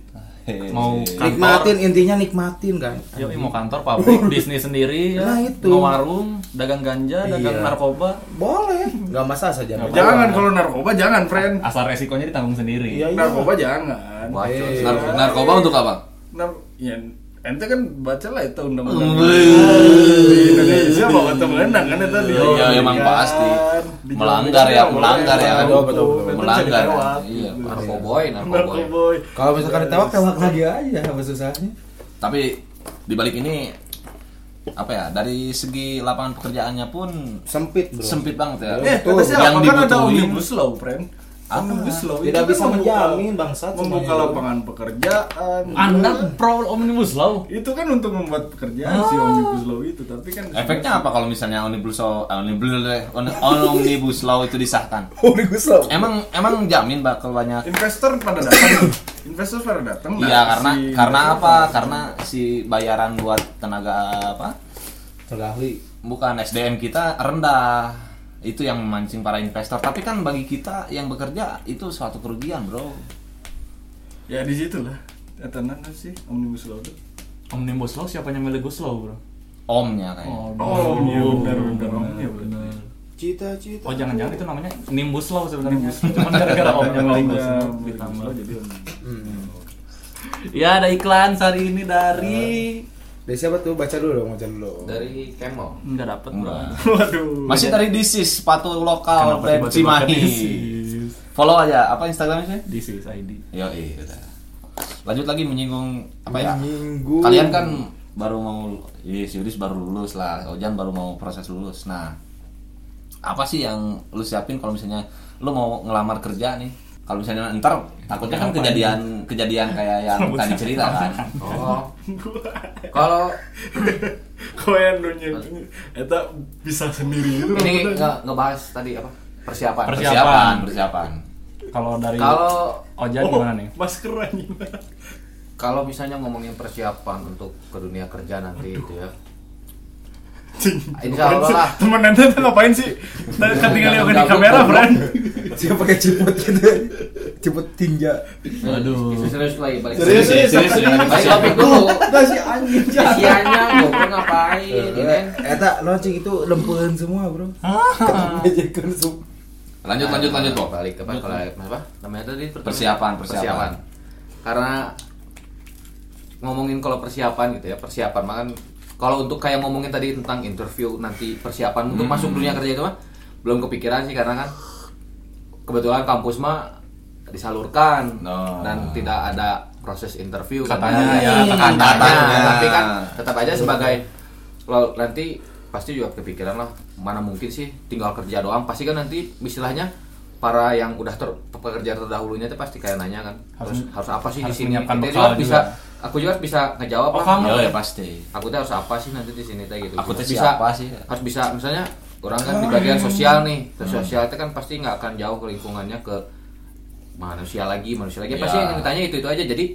Speaker 5: Iya,
Speaker 4: mau kantor
Speaker 6: iya. nikmatin intinya nikmatin kan
Speaker 7: Iya.
Speaker 4: Yoi, mau kantor pabrik bisnis sendiri ya
Speaker 6: Nah, itu.
Speaker 4: mau warung dagang ganja dagang
Speaker 6: Iya.
Speaker 4: narkoba
Speaker 6: boleh nggak masalah saja
Speaker 7: Iya,
Speaker 2: jangan kalau narkoba jangan friend
Speaker 5: Iya.
Speaker 4: asal resikonya ditanggung sendiri
Speaker 6: Iya, iya.
Speaker 2: narkoba jangan
Speaker 6: Eh,
Speaker 5: Nar- narkoba untuk apa?
Speaker 2: Nah, ya, ente kan baca lah itu undang-undang di Indonesia bahwa temenan kan itu dia.
Speaker 5: Iya, emang pasti. Melanggar ya, melanggar ya.
Speaker 6: Betul, betul, betul.
Speaker 5: Melanggar. Iya.
Speaker 8: Narkoboy, narkoboy.
Speaker 2: Narkoboy.
Speaker 6: Kalau misalkan ditewak, tewak lagi aja apa susahnya?
Speaker 5: Tapi di balik ini apa ya? Dari segi lapangan pekerjaannya pun
Speaker 6: Sempit, Bro.
Speaker 5: sempit banget ya.
Speaker 2: Eh,
Speaker 6: Betul.
Speaker 2: kata siapa
Speaker 5: Yang
Speaker 2: kan ada
Speaker 5: dibutuhin. Ah,
Speaker 2: omnibus law, friend. Omnibus law
Speaker 6: Tidak
Speaker 2: itu
Speaker 6: bisa
Speaker 2: kan membuka-
Speaker 6: menjamin, bangsat,
Speaker 2: Membuka
Speaker 6: semuanya.
Speaker 2: lapangan pekerjaan.
Speaker 4: anda pro omnibus law
Speaker 2: itu kan untuk membuat pekerjaan
Speaker 5: Ah.
Speaker 2: si omnibus law itu, tapi kan
Speaker 5: Efeknya apa kalau misalnya omnibus law eh, omnibus law, omnibus law itu disahkan?
Speaker 6: Omnibus Law.
Speaker 5: Emang emang jamin bakal banyak
Speaker 2: investor pada datang. investor pada datang. lah.
Speaker 5: Iya karena
Speaker 2: Si
Speaker 5: karena
Speaker 2: investor
Speaker 5: apa?
Speaker 2: pada-
Speaker 5: Karena si bayaran buat tenaga apa?
Speaker 6: Telah ahli.
Speaker 5: Bukan SDM kita rendah. Itu yang memancing para investor. Tapi kan bagi kita yang bekerja itu suatu kerugian, Bro.
Speaker 2: Ya di situ lah. Ya, tenan sih omnibus law itu.
Speaker 4: Omnibus Law siapanya Melly Goeslaw bro?
Speaker 5: omnya kayaknya
Speaker 2: Oh, iya benar benar omnya benar.
Speaker 6: Cita-cita.
Speaker 4: Oh jangan-jangan itu namanya Nimbus Law sebenarnya Cuman gara-gara
Speaker 2: Iya,
Speaker 4: omnya Melly Goeslaw ditambah
Speaker 2: jadi om.
Speaker 4: Ya ada iklan hari ini dari
Speaker 6: Dari siapa tuh? Baca dulu dong, baca dulu.
Speaker 8: dari Camel
Speaker 4: nggak dapet bro
Speaker 2: Waduh.
Speaker 5: masih dari disis sepatu lokal
Speaker 4: iya. tiba-tiba
Speaker 5: brand
Speaker 4: ke
Speaker 5: Cimahi
Speaker 4: Disis?
Speaker 5: follow aja apa instagramnya sih
Speaker 4: This is ID
Speaker 5: yo iya udah. lanjut lagi menyinggung apa ya
Speaker 6: Menyinggung.
Speaker 5: kalian kan baru mau iya si Yudis baru lulus lah Ojan baru mau proses lulus nah apa sih yang lu siapin kalau misalnya lu mau ngelamar kerja nih kalau misalnya ntar takutnya kan kejadian kejadian kayak yang tadi cerita kan
Speaker 8: oh kalau
Speaker 2: Koen dunia Eta bisa sendiri gitu.
Speaker 8: ini nge- ngebahas tadi apa persiapan
Speaker 4: Persiapan.
Speaker 5: persiapan persiapan
Speaker 4: Kalau dari
Speaker 8: kalau
Speaker 4: Ojan
Speaker 2: Oh.
Speaker 4: gimana nih?
Speaker 2: Masker anjing.
Speaker 8: kalau misalnya ngomongin persiapan untuk ke dunia kerja nanti
Speaker 5: gitu
Speaker 8: itu ya Insya Allah lah.
Speaker 2: Temen nanti tuh ngapain sih? Tadi kan tinggal lihat di
Speaker 8: Gabut,
Speaker 2: kamera,
Speaker 8: goblok.
Speaker 2: Bran.
Speaker 10: Siapa pakai ciput gitu. Ciput tinja.
Speaker 8: Isu serius lagi balik
Speaker 6: Serius,
Speaker 8: serius
Speaker 6: serius,
Speaker 8: balik topik dulu
Speaker 10: Kasih anjing.
Speaker 8: isiannya gue ngapain
Speaker 6: Eh,
Speaker 8: ya kan
Speaker 10: Eta launching itu lempuhan semua, Bro. Kemejakan semua.
Speaker 5: lanjut lanjut lanjut Bob
Speaker 8: balik ke apa apa namanya tadi pertanyaan?
Speaker 5: Persiapan, persiapan.
Speaker 8: karena ngomongin kalau persiapan gitu ya persiapan makan kalau untuk kayak ngomongin tadi tentang interview nanti persiapan
Speaker 5: Hmm.
Speaker 8: untuk masuk dunia kerja itu mah belum kepikiran sih karena kan kebetulan kampus mah disalurkan
Speaker 5: Nah.
Speaker 8: dan tidak ada proses interview
Speaker 4: Katanya
Speaker 8: Katanya,
Speaker 4: ya,
Speaker 8: katanya.
Speaker 5: katanya.
Speaker 8: tapi kan tetap aja
Speaker 5: Iya.
Speaker 8: sebagai lo nanti pasti juga kepikiran lah mana mungkin sih tinggal kerja doang pasti kan nanti istilahnya para yang udah ter, pekerja terdahulunya itu pasti kayak nanya kan harus
Speaker 4: Harus-
Speaker 8: harus apa sih
Speaker 4: harus
Speaker 8: di sini
Speaker 4: menyiapkan
Speaker 8: Dia
Speaker 4: bekal
Speaker 8: juga bisa
Speaker 4: juga.
Speaker 8: aku juga harus bisa ngejawab
Speaker 4: Oh,
Speaker 8: lah.
Speaker 4: kamu?
Speaker 5: Yo, ya pasti
Speaker 8: aku tuh harus apa sih nanti di sini teh gitu
Speaker 5: Aku tuh
Speaker 8: Harus
Speaker 5: siapa sih?
Speaker 8: harus bisa misalnya orang kan di bagian sosial nih
Speaker 4: Hmm.
Speaker 8: Terus sosial itu kan pasti nggak akan jauh ke lingkungannya ke manusia lagi manusia lagi pasti
Speaker 5: Iya.
Speaker 8: yang ditanya itu itu aja jadi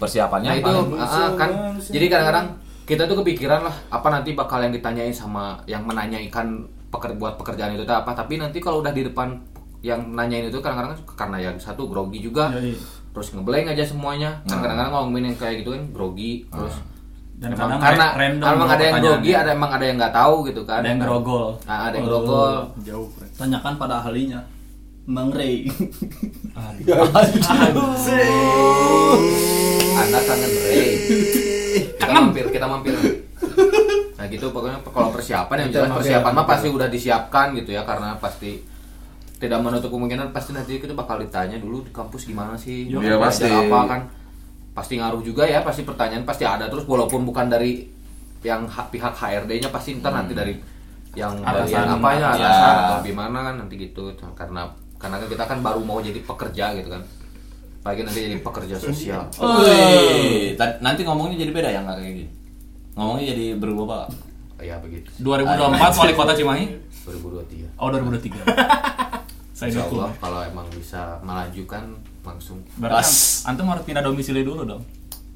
Speaker 5: persiapannya
Speaker 8: nah itu
Speaker 5: apa?
Speaker 8: ah, kan jadi kadang-kadang kita tuh kepikiran lah apa nanti bakal yang ditanyain sama yang menanyakan peker, buat pekerjaan itu tuh apa tapi nanti kalau udah di depan yang nanyain itu kadang-kadang kan karena yang satu grogi juga
Speaker 4: Iya,
Speaker 2: Yoi.
Speaker 8: terus ngeblank aja semuanya kan kadang-kadang ngomongin yang kayak gitu kan grogi terus
Speaker 4: Nah. Dan
Speaker 8: emang
Speaker 4: kadang
Speaker 8: karena
Speaker 4: re- random
Speaker 8: emang ada yang grogi
Speaker 4: pertanyaannya.
Speaker 8: ada emang ada yang nggak tahu gitu kan
Speaker 4: Ada yang Oh, grogol
Speaker 8: Nah, ada yang grogol
Speaker 2: Jauh, Bran.
Speaker 11: Tanyakan pada ahlinya. Mang Ray.
Speaker 8: Anda kangen Ray. Kita mampir, kita mampir. Nah gitu pokoknya kalau persiapan yang jelas persiapan mah pasti udah disiapkan gitu ya karena pasti tidak menutup kemungkinan pasti nanti kita bakal ditanya dulu di kampus gimana sih
Speaker 5: Iya,
Speaker 8: belajar
Speaker 5: pasti.
Speaker 8: apa kan pasti ngaruh juga ya pasti pertanyaan pasti ada terus walaupun bukan dari yang ha- pihak HRD-nya pasti ntar nanti dari yang bagian
Speaker 4: Atasan.
Speaker 8: apanya
Speaker 5: Hmm. Ya.
Speaker 8: atasan atau gimana kan nanti gitu karena karena kan kita kan baru mau jadi pekerja gitu kan lagi nanti jadi pekerja sosial Oh.
Speaker 5: Woi, ta- nanti ngomongnya jadi beda ya nggak kayak gini. Ngomongnya jadi berubah pak.
Speaker 8: Ya begitu.
Speaker 4: 2024 wali kota Cimahi
Speaker 8: 2023.
Speaker 4: Oh 2003
Speaker 5: gitu.
Speaker 4: Saya
Speaker 8: Insya
Speaker 4: dukung
Speaker 8: Allah kalau emang bisa melajukan langsung
Speaker 4: Berarti
Speaker 5: Pas.
Speaker 4: an- antum harus pindah domisili dulu dong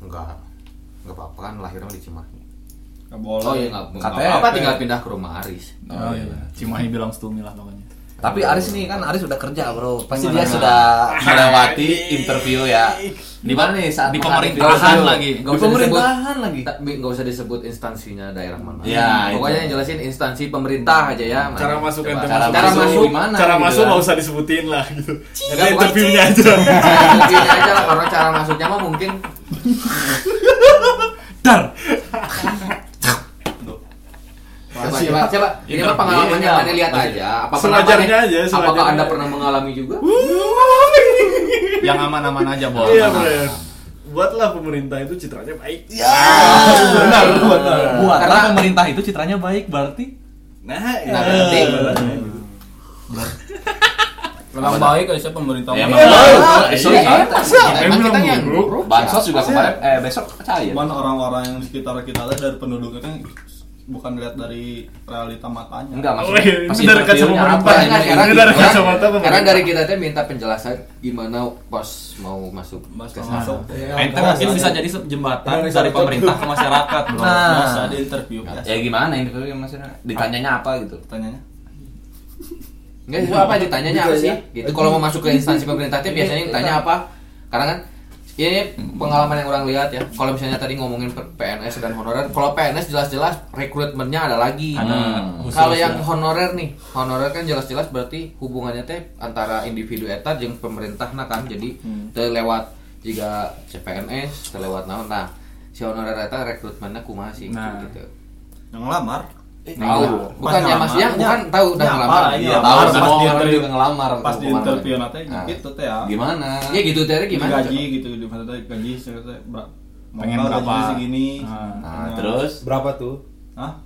Speaker 8: enggak enggak apa-apa kan lahirnya di Cimahi.
Speaker 7: Nggak boleh.
Speaker 8: Oh iya enggak enggak
Speaker 5: Katanya-
Speaker 8: apa-apa tinggal pindah ke rumah Aris.
Speaker 4: Oh iya Cimahi bilang stumi lah pokoknya
Speaker 5: Tapi Aris nih kan Aris udah kerja bro, pasti dia sudah melewati interview ya. Di mana nih saat
Speaker 4: Di
Speaker 5: menghadapi
Speaker 4: pemerintahan
Speaker 5: interview?
Speaker 4: lagi.
Speaker 5: Di pemerintahan lagi.
Speaker 8: Tapi enggak usah disebut instansinya daerah mana.
Speaker 5: Ya, itu.
Speaker 8: Pokoknya yang jelasin instansi pemerintah aja ya.
Speaker 2: Cara masuk
Speaker 8: Coba.
Speaker 2: ente
Speaker 8: cara
Speaker 5: masuk.
Speaker 8: cara
Speaker 5: Cara
Speaker 8: masuk
Speaker 5: gimana
Speaker 2: Cara
Speaker 5: gitu
Speaker 2: masuk
Speaker 5: kan?
Speaker 2: nggak usah disebutin lah gitu. Nanti
Speaker 8: bukan.
Speaker 2: interviewnya aja.
Speaker 8: Mungkin aja lah, karena cara masuknya mah mungkin
Speaker 4: Dar
Speaker 8: coba coba coba ini mah pengalaman
Speaker 5: iya.
Speaker 8: yang anda lihat aja apa pernah
Speaker 2: Selajarnya
Speaker 8: Mane-
Speaker 2: aja,
Speaker 8: apakah
Speaker 2: selajarnya.
Speaker 8: anda pernah mengalami juga
Speaker 4: Yang aman-aman aja bos
Speaker 2: Iya, Bran. Buatlah pemerintah itu citranya baik.
Speaker 5: Benar,
Speaker 4: Buat
Speaker 8: Karena-
Speaker 4: pemerintah itu citranya baik berarti
Speaker 2: Nah, Iya.
Speaker 8: Nah, berarti.
Speaker 11: Memang baik kalau siapa pemerintah.
Speaker 5: Ya,
Speaker 11: Emang
Speaker 5: emang-
Speaker 8: Eh,
Speaker 5: Eh, sorry, sorry.
Speaker 8: emang kita yang buruk
Speaker 5: Bansos juga kemarin, eh besok cair.
Speaker 7: Cuman orang-orang yang di sekitar kita lah dari penduduknya kan bukan lihat dari realita matanya.
Speaker 8: enggak
Speaker 2: Oh,
Speaker 8: maksudnya
Speaker 2: iya,
Speaker 5: Pas
Speaker 2: ini dari kaca
Speaker 5: interviewnya
Speaker 2: pemerintah.
Speaker 8: Karena
Speaker 5: apa?
Speaker 8: sekarang
Speaker 2: Ini dari
Speaker 8: orang-
Speaker 2: kacamata pemerintah.
Speaker 8: Karena dari kita teh minta penjelasan gimana pos mau masuk
Speaker 7: Mas
Speaker 5: Iya.
Speaker 8: ke sana.
Speaker 7: masuk.
Speaker 4: Ente mungkin bisa jadi jembatan dari pemerintah ke masyarakat bro
Speaker 5: Nah,
Speaker 11: ada interview.
Speaker 5: ya gimana interview maksudnya? Ditanyanya apa gitu?
Speaker 7: Pertanyaannya.
Speaker 8: Enggak itu apa ditanyanya apa sih? Gitu kalau mau masuk ke instansi pemerintah teh biasanya ditanya apa? Karena kan Ya, ini pengalaman yang orang lihat ya. Kalau misalnya tadi ngomongin per- PNS dan honorer, kalau PNS jelas-jelas rekrutmennya ada lagi. Hmm. Kalau yang honorer nih, honorer kan jelas-jelas berarti hubungannya teh antara individu eta jeung pemerintah nah kan. Jadi teu lewat jika CPNS teu lewat naon. Nah, si honorer eta rekrutmennya kumaha sih
Speaker 4: Nah.
Speaker 8: gitu.
Speaker 7: Yang ngelamar.
Speaker 8: Tahu. Bukan ya Mas ya, bukan tahu udah
Speaker 7: Ya,
Speaker 8: ngelamar.
Speaker 7: apa, iya.
Speaker 5: Tahu
Speaker 7: Pas
Speaker 5: semua
Speaker 7: di
Speaker 5: orang
Speaker 7: interview-
Speaker 5: juga ngelamar.
Speaker 7: Pas di
Speaker 5: kemana-mana.
Speaker 7: interview nanti
Speaker 8: Ah.
Speaker 5: Nah,
Speaker 7: gitu teh ya.
Speaker 5: Gimana?
Speaker 8: Ya gitu teh gimana?
Speaker 7: Gaji gitu di mana teh gaji sekitar berapa?
Speaker 4: Pengen berapa?
Speaker 7: segini.
Speaker 4: Ah.
Speaker 5: Nah, terus
Speaker 6: Berapa tuh?
Speaker 7: Hah?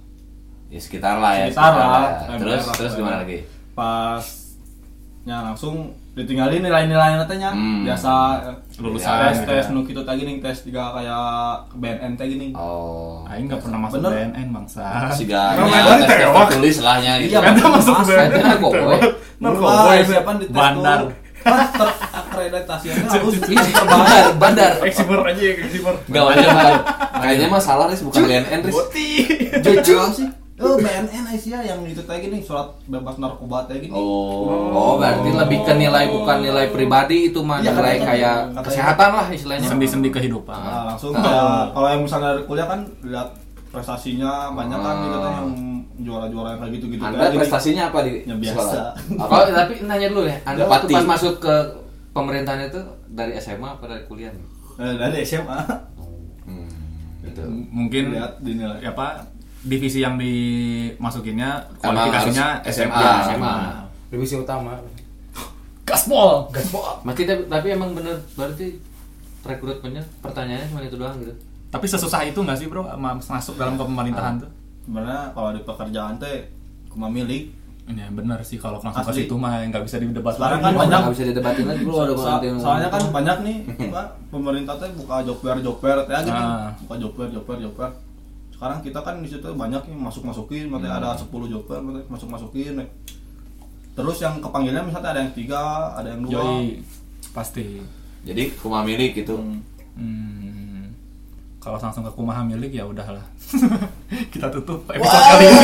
Speaker 5: ya sekitar lah ya.
Speaker 7: Sekitar lah.
Speaker 5: ya. Terus
Speaker 7: Sekitar lah. Iya,
Speaker 5: terus gimana lagi?
Speaker 7: Pas nya langsung ditinggalin nilai-nilai nanti nya
Speaker 5: Hmm.
Speaker 7: biasa eh,
Speaker 5: Lulusan,
Speaker 7: tes
Speaker 5: ya.
Speaker 7: tes nu kitu teh gini tes tiga kayak ke BNN teh gini
Speaker 5: Oh.
Speaker 4: Aing nggak pernah masuk
Speaker 7: Bener.
Speaker 4: BNN bangsa.
Speaker 5: Siga.
Speaker 2: Emang main dari tewak?
Speaker 5: tulis lahnya gitu.
Speaker 7: Iya,
Speaker 2: Eta masuk
Speaker 7: Mas,
Speaker 2: BNN.
Speaker 8: Ada kowe.
Speaker 2: Nah,
Speaker 7: Wah,
Speaker 2: kok, boys.
Speaker 7: itu apaan dites
Speaker 4: Bandar.
Speaker 7: tuh? Pas ter- akreditasinya harus
Speaker 8: Bandar, bandar.
Speaker 2: Eksimer aja ya, eksimer.
Speaker 5: Enggak wajar lah. Kayaknya mah salah Riz, bukan BNN Riz.
Speaker 7: Jujur sih. Oh, BNN Asia yang itu tadi gini surat bebas narkoba tadi gini.
Speaker 5: Oh.
Speaker 8: Oh, berarti lebih ke nilai bukan nilai pribadi itu mah
Speaker 7: Iya,
Speaker 8: nilai
Speaker 7: katanya-
Speaker 8: kayak
Speaker 7: katanya-
Speaker 8: kesehatan lah istilahnya.
Speaker 4: Sendi-sendi kehidupan.
Speaker 7: Nah, langsung kayak kalau yang misalnya dari kuliah kan lihat prestasinya banyak kan gitu kan yang juara-juara yang kayak gitu-gitu
Speaker 5: Anda
Speaker 7: kayak gini.
Speaker 5: prestasinya apa di
Speaker 7: kan. Ya, biasa.
Speaker 5: sekolah?
Speaker 8: Apa tapi nanya dulu ya, Anda waktu
Speaker 5: Pati.
Speaker 8: pas masuk ke pemerintahan itu dari SMA apa dari kuliah? nih?
Speaker 7: Eh, dari SMA.
Speaker 5: Gitu.
Speaker 4: M- Mungkin
Speaker 7: Lihat dinilai.
Speaker 4: ya apa divisi yang dimasukinnya
Speaker 5: Emang
Speaker 4: kualifikasinya
Speaker 5: harus
Speaker 4: SMA.
Speaker 5: SMA.
Speaker 8: Ah,
Speaker 4: SMA.
Speaker 6: Divisi utama.
Speaker 4: Gaspol.
Speaker 8: Berarti tapi, tapi emang bener berarti rekrutmennya pertanyaannya cuma itu doang gitu.
Speaker 4: Tapi sesusah itu nggak sih bro ma- masuk dalam kepemerintahan tuh?
Speaker 7: Sebenarnya kalau di pekerjaan teh cuma milik.
Speaker 4: Ya benar sih kalau langsung ke
Speaker 7: Asli.
Speaker 4: situ mah nggak bisa didebat lagi.
Speaker 7: Sekarang kan banyak
Speaker 8: Nggak bisa didebatin lagi bro ada
Speaker 7: So-
Speaker 8: orang yang-
Speaker 7: soalnya kan banyak nih apa, pemerintah teh buka job fair job fair teh gitu
Speaker 4: Ah.
Speaker 7: buka job fair job fair job fair sekarang kita kan di situ banyak yang masuk masukin maksudnya
Speaker 4: Hmm.
Speaker 7: ada 10 job fair maksudnya masuk masukin terus yang kepanggilnya misalnya ada yang tiga ada yang dua
Speaker 4: Joy pasti.
Speaker 5: Jadi rumah milik gitu.
Speaker 4: Hmm. Kalau langsung ke kumaha milik ya udahlah. Kita tutup episode kali ini.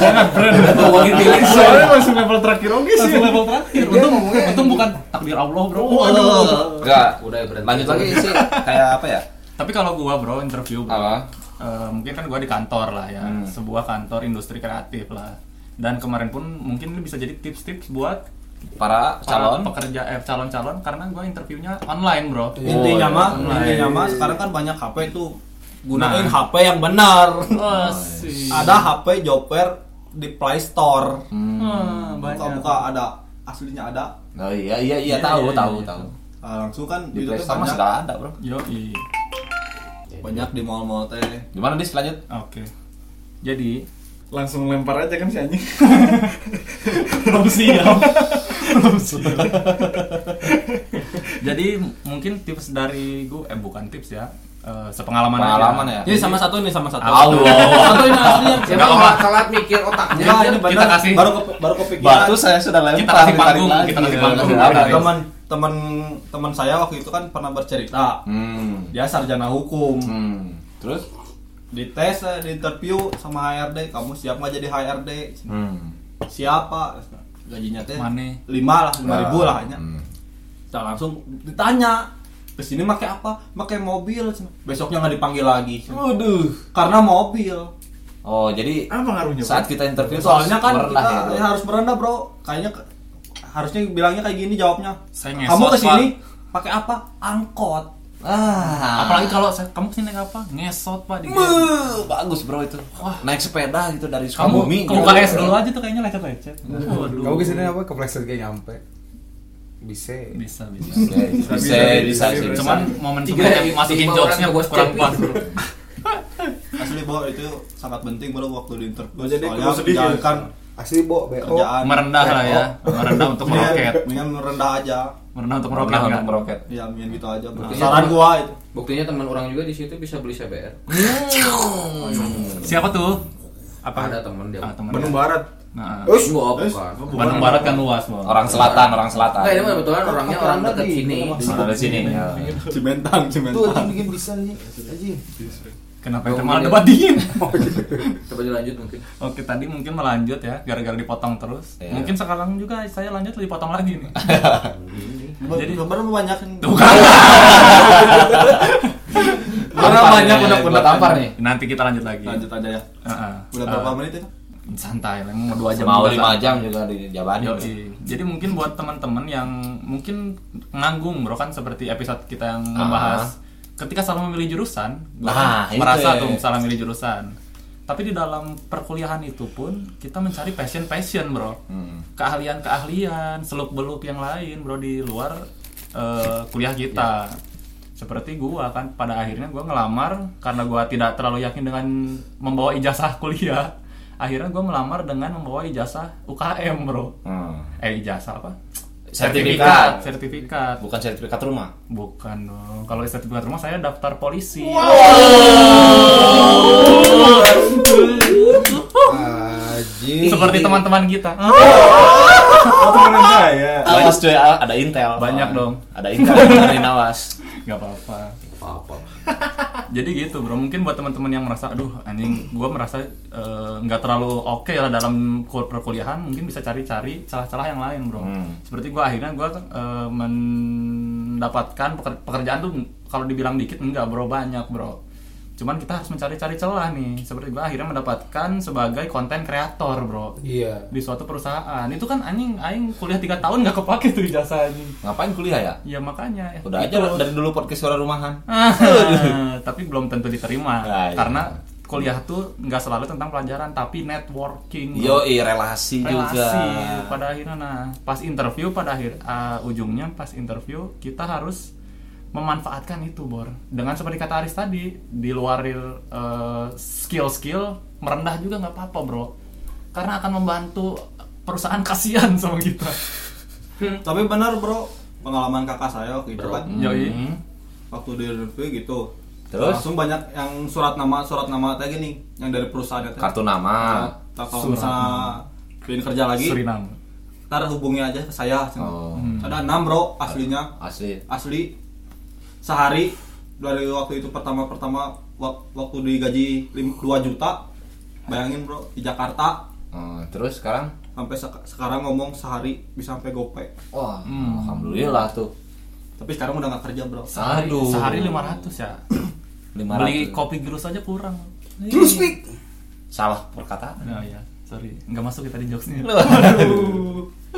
Speaker 4: Jangan friend.
Speaker 5: Ngomongin milik.
Speaker 2: Soalnya masuk level terakhir oke sih.
Speaker 4: Langsung level terakhir. Untung, untung bukan takdir Allah, Bro. Waduh.
Speaker 5: Enggak.
Speaker 8: Udah, berarti.
Speaker 5: Lanjut lagi sih kayak apa ya?
Speaker 4: Tapi kalau gua, Bro, interview, Bro.
Speaker 5: Apa?
Speaker 4: Eh, mungkin kan gua di kantor lah ya, sebuah kantor industri kreatif lah. Dan kemarin pun mungkin ini bisa jadi tips-tips buat para
Speaker 5: Para calon
Speaker 4: pekerja eh, calon-calon karena gua interviewnya online, Bro.
Speaker 7: intinya
Speaker 5: Oh,
Speaker 7: mah
Speaker 4: iya.
Speaker 7: intinya mah sekarang kan banyak HP tuh
Speaker 4: Nah.
Speaker 7: gunain HP yang benar
Speaker 4: Wah, sih.
Speaker 7: ada HP job fair di Play Store
Speaker 4: Ah, banyak.
Speaker 7: buka-buka ada aslinya ada
Speaker 5: Oh iya iya iya tahu tahu tahu.
Speaker 7: Ah, langsung kan
Speaker 5: Di
Speaker 7: itu tuh
Speaker 5: Playstore mah
Speaker 7: banyak
Speaker 5: segala ada, Bro.
Speaker 4: Yoi.
Speaker 7: banyak di mall-mall teh
Speaker 5: Gimana dis lanjut?
Speaker 4: Oke. Jadi
Speaker 2: Langsung lempar aja kan si anjing.
Speaker 4: belum siap. belum siap. Jadi m- mungkin tips dari gue eh bukan tips ya. Eh sepengalaman aja.
Speaker 5: Pengalaman ya.
Speaker 11: Ini sama satu ini sama satu.
Speaker 5: Allah.
Speaker 11: Satu ini aslinya. Iya,
Speaker 8: Siapa yang nggak telat mikir otaknya?
Speaker 7: Enggak, ini
Speaker 4: Kita
Speaker 7: benar.
Speaker 4: kasih-
Speaker 7: Eh, baru ke, baru
Speaker 8: Iya,
Speaker 7: kepikiran.
Speaker 5: Batu saya sudah lempar.
Speaker 4: Kita kasih
Speaker 5: ditarik
Speaker 4: panggung,
Speaker 5: lagi.
Speaker 4: kita kasih panggung.
Speaker 5: Ada, ada.
Speaker 7: teman teman teman saya waktu itu kan pernah bercerita.
Speaker 5: Hmm.
Speaker 7: Dia sarjana hukum.
Speaker 5: Hmm. Terus?
Speaker 7: Dites, eh, di interview sama HRD, kamu siap nggak jadi HRD?
Speaker 5: Hmm.
Speaker 7: Siapa? Gajinya teh
Speaker 4: Mane.
Speaker 7: lima lah, lima ribu lah hanya.
Speaker 5: Hmm.
Speaker 7: Kita langsung ditanya, kesini make apa? Make mobil. Besoknya nggak dipanggil lagi. Waduh. Karena mobil.
Speaker 5: Oh, jadi
Speaker 2: Apa pengaruhnya? Bro?
Speaker 5: saat kita interview
Speaker 7: Soalnya
Speaker 5: harus
Speaker 7: kan
Speaker 5: merendah
Speaker 7: kita
Speaker 5: ya, Bro.
Speaker 7: ya harus merendah bro. Kayaknya ke- harusnya bilangnya kayak gini jawabnya.
Speaker 4: Saya ngesot,
Speaker 7: Kamu kesini pakai apa? Angkot.
Speaker 5: Ah.
Speaker 4: Apalagi kalau saya- kamu kesini naik apa? Ngesot pak di
Speaker 5: Meuh, bagus bro itu. Wah, naik sepeda gitu dari
Speaker 4: Kamu ke
Speaker 5: Sukabumi.
Speaker 4: UKS dulu aja tuh kayaknya lecet-lecet.
Speaker 6: Kamu
Speaker 4: Waduh.
Speaker 6: kesini apa? Kepleset kayak nyampe. Bisa.
Speaker 4: Bisa bisa.
Speaker 5: Bisa, bisa, bisa, bisa, bisa.
Speaker 4: Cuman momen
Speaker 8: Tiga,
Speaker 4: sebelumnya
Speaker 8: tiga
Speaker 4: masukin
Speaker 8: orang
Speaker 4: jokesnya
Speaker 8: gua
Speaker 4: kurang
Speaker 8: step.
Speaker 4: pas. bro.
Speaker 7: Asli bro itu sangat penting bro waktu di interview.
Speaker 2: Jadi
Speaker 7: Soalnya
Speaker 2: kalau sedih ya.
Speaker 7: jangan kan
Speaker 6: Asli bo, bo.
Speaker 7: kerjaan
Speaker 4: Oh, Merendah lah ya, merendah untuk
Speaker 7: Mendingan-
Speaker 4: meroket,
Speaker 7: Mendingan merendah aja.
Speaker 4: merendah untuk meroket
Speaker 5: Pernah
Speaker 4: nggak?
Speaker 5: untuk meroket.
Speaker 7: Ya mendingan gitu aja bro.
Speaker 8: Buktinya
Speaker 7: Saran
Speaker 8: teman-
Speaker 7: gua itu.
Speaker 8: Buktinya teman orang juga di situ bisa beli CBR.
Speaker 4: Siapa tuh? Apa?
Speaker 8: Ada teman dia.
Speaker 4: Ah, temen.
Speaker 2: Bandung Barat.
Speaker 4: Nah,
Speaker 6: Oh,
Speaker 8: Terus gua apa? Pak?
Speaker 4: Bandung Barat kan luas bro.
Speaker 5: Orang selatan, orang selatan.
Speaker 8: Enggak, ini mah kebetulan orangnya orang dekat sini.
Speaker 5: Orang dari sini. ya.
Speaker 7: Iya. Cimentang,
Speaker 6: Tuh anjing
Speaker 7: Cimentang.
Speaker 6: bikin bisa nih. Anjing.
Speaker 4: Kenapa itu malah debat dingin?
Speaker 8: Coba dilanjut mungkin.
Speaker 4: Oke tadi mungkin melanjut ya gara-gara dipotong terus.
Speaker 5: Iya.
Speaker 4: Mungkin sekarang juga saya lanjut dipotong lagi nih.
Speaker 7: Jadi baru lu banyak.
Speaker 4: kan.
Speaker 3: Karena banyak unek-unek tampar nih.
Speaker 4: Nanti kita lanjut lagi.
Speaker 7: Lanjut aja ya.
Speaker 4: Heeh.
Speaker 7: Udah berapa menit itu?
Speaker 4: santai lah mau dua jam
Speaker 5: mau
Speaker 4: juga,
Speaker 5: lima
Speaker 4: Pak.
Speaker 5: jam juga di Jabani
Speaker 4: Yoi. jadi mungkin buat teman-teman yang mungkin nganggung bro kan seperti episode kita yang
Speaker 3: Ah.
Speaker 4: membahas ketika salah memilih jurusan gua kan
Speaker 5: Nah, itu
Speaker 4: merasa
Speaker 5: ya.
Speaker 4: tuh salah milih jurusan tapi di dalam perkuliahan itu pun kita mencari passion passion bro
Speaker 5: Hmm.
Speaker 4: keahlian keahlian seluk beluk yang lain bro di luar eh, kuliah kita
Speaker 5: Ya.
Speaker 4: seperti gua kan pada akhirnya gua ngelamar karena gua tidak terlalu yakin dengan membawa ijazah kuliah akhirnya gua melamar dengan membawa ijazah UKM bro eh ijazah apa
Speaker 5: Hmm. Sertifikat.
Speaker 4: sertifikat
Speaker 5: bukan sertifikat rumah
Speaker 4: bukan dong kalau sertifikat rumah saya daftar polisi seperti teman-teman kita
Speaker 5: Awas cuy, ada intel. Ah.
Speaker 4: Banyak dong.
Speaker 5: Ada intel dari Nawas.
Speaker 4: nggak apa-apa jadi gitu bro mungkin buat teman-teman yang merasa aduh anjing gua merasa eh, nggak terlalu oke lah dalam kur- perkuliahan mungkin bisa cari-cari celah-celah yang lain bro seperti gua akhirnya gua eh, mendapatkan peker- pekerjaan tuh kalau dibilang dikit enggak bro banyak bro cuman kita harus mencari-cari celah nih seperti gua akhirnya mendapatkan sebagai konten kreator bro
Speaker 6: Iya.
Speaker 4: di suatu perusahaan itu kan anjing aing kuliah tiga tahun nggak kepake tuh ijazah anjing
Speaker 5: Ngapain kuliah
Speaker 4: ya
Speaker 5: ya?
Speaker 4: makanya
Speaker 5: Udah
Speaker 4: itu.
Speaker 5: aja lah, dari dulu podcast suara rumahan.
Speaker 4: Ah, tapi belum tentu diterima
Speaker 5: Nah, iya.
Speaker 4: karena kuliah tuh nggak selalu tentang pelajaran tapi networking
Speaker 5: Yo, relasi,
Speaker 4: Hmm.
Speaker 5: juga.
Speaker 4: relasi pada akhirnya nah pas interview pada akhir ah, ujungnya pas interview kita harus memanfaatkan itu bor dengan seperti kata Aris tadi di luar skill skill merendah juga nggak apa-apa bro karena akan membantu perusahaan kasihan sama kita Hmm.
Speaker 7: Tapi benar bro, pengalaman kakak saya waktu itu kan
Speaker 4: Yoi.
Speaker 7: waktu di review gitu.
Speaker 5: Terus?
Speaker 7: langsung banyak yang surat nama surat nama kayak gini yang dari perusahaan itu. Nah,
Speaker 5: Kartu nama.
Speaker 7: Kalau misalnya pengen kerja lagi,
Speaker 4: Suriname
Speaker 7: ntar hubungi aja ke saya.
Speaker 5: Oh.
Speaker 7: Ada enam bro aslinya.
Speaker 5: Asli.
Speaker 7: asli sehari dari waktu itu pertama pertama waktu digaji 2 juta bayangin bro di Jakarta
Speaker 5: Eh, terus sekarang
Speaker 7: sampai sek- sekarang ngomong sehari bisa sampai gope
Speaker 5: wah, alhamdulillah tuh.
Speaker 7: tapi sekarang udah nggak kerja bro
Speaker 4: sehari
Speaker 5: Aduh.
Speaker 4: sehari 500 ya
Speaker 5: 500.
Speaker 4: beli kopi gerus aja kurang
Speaker 5: Salah perkataan.
Speaker 4: Nah ya, sorry, nggak masuk kita di jokesnya.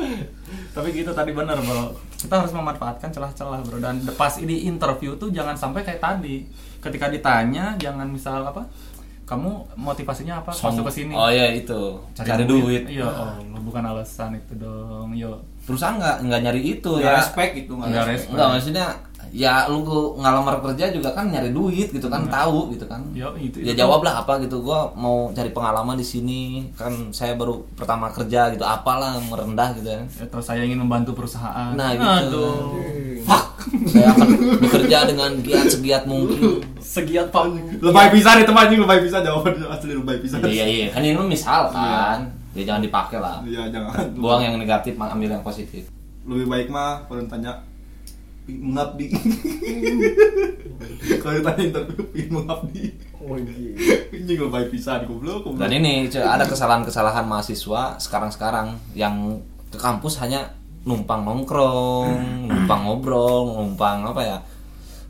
Speaker 4: Tapi gitu tadi bener bro, kita harus memanfaatkan celah-celah bro dan pas ini interview tuh jangan sampai kayak tadi. Ketika ditanya jangan misal apa, kamu motivasinya apa masuk ke sini?
Speaker 5: Oh iya itu. Cari, duit.
Speaker 4: Iya, Allah, bukan alasan itu dong. Yo,
Speaker 5: Perusahaan nggak nggak nyari itu
Speaker 7: nggak
Speaker 5: ya.
Speaker 7: respect gitu nggak
Speaker 4: nggak
Speaker 7: respect.
Speaker 4: respon.
Speaker 5: Enggak maksudnya ya lu ke- ngalamar kerja juga kan nyari duit gitu
Speaker 4: Hmm.
Speaker 5: kan tahu gitu kan.
Speaker 4: Yo, itu,
Speaker 5: ya
Speaker 4: itu.
Speaker 5: jawablah apa gitu gua mau cari pengalaman di sini kan saya baru pertama kerja gitu apalah merendah gitu ya
Speaker 4: Atau saya ingin membantu perusahaan.
Speaker 5: Nah, gitu.
Speaker 4: Aduh.
Speaker 5: Fuck. saya akan bekerja dengan giat segiat mungkin
Speaker 4: Segiat pak.
Speaker 7: lebay bisa nih teman anjing lebay bisa jawabannya asli lebay bisa
Speaker 5: iya iya kan ini misalkan ya jangan dipakai lah
Speaker 7: iya jangan
Speaker 5: buang yang negatif ambil yang positif
Speaker 7: lebih baik mah kalau ditanya "Pi- mengabdi kalau ditanya interview "Pi mengabdi
Speaker 2: Oh iya.
Speaker 7: anjing lebay bisa goblok goblok.
Speaker 5: dan ini cuy, ada kesalahan-kesalahan mahasiswa sekarang-sekarang yang ke kampus hanya numpang nongkrong, numpang ngobrol, numpang apa ya?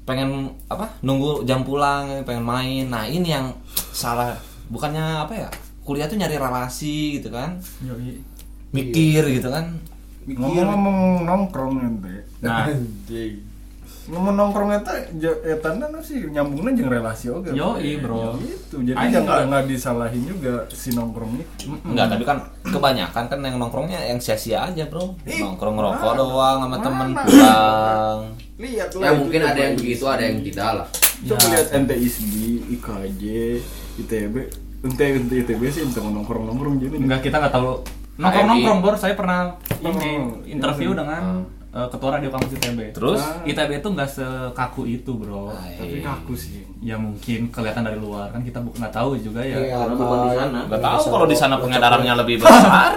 Speaker 5: Pengen apa? Nunggu jam pulang, pengen main. Nah, ini yang salah. Bukannya apa ya? Kuliah tuh nyari relasi gitu kan.
Speaker 4: Yoi.
Speaker 5: Mikir gitu kan.
Speaker 2: Ngomong-ngomong nongkrong ente.
Speaker 4: Nah.
Speaker 2: Anjing. Ngomong nongkrong eta ja- eta na sih nyambungnya jeung relasi oge.
Speaker 4: Yoi, bro.
Speaker 2: Gitu. Jadi
Speaker 4: Aing
Speaker 2: jangan
Speaker 4: juga.
Speaker 2: nggak disalahin juga si nongkrong itu.
Speaker 5: Enggak, tapi kan kebanyakan kan yang nongkrongnya yang sia-sia aja, Bro. Nongkrong ngerokok doang sama temen pulang.
Speaker 2: Lihat
Speaker 8: ya mungkin ada yang begitu ada yang tidak lah
Speaker 2: Coba
Speaker 4: Ya,
Speaker 2: lihat NTISB, IKJ, ITB. Ente ente ITB sih ente nongkrong nongkrong jadi
Speaker 4: Enggak kita nggak tahu. Nongkrong nongkrong bor saya pernah
Speaker 2: Nongkrong.
Speaker 4: ini interview dengan eh, ketua radio kampus ITB.
Speaker 5: Terus
Speaker 4: ITB itu nggak sekaku itu bro.
Speaker 2: tapi kaku sih.
Speaker 4: Ya mungkin kelihatan dari luar kan kita bu- nggak tahu juga ya.
Speaker 7: Iya.
Speaker 8: karena bukan di sana
Speaker 5: Gak tahu kalau di sana pengedarannya lebih besar.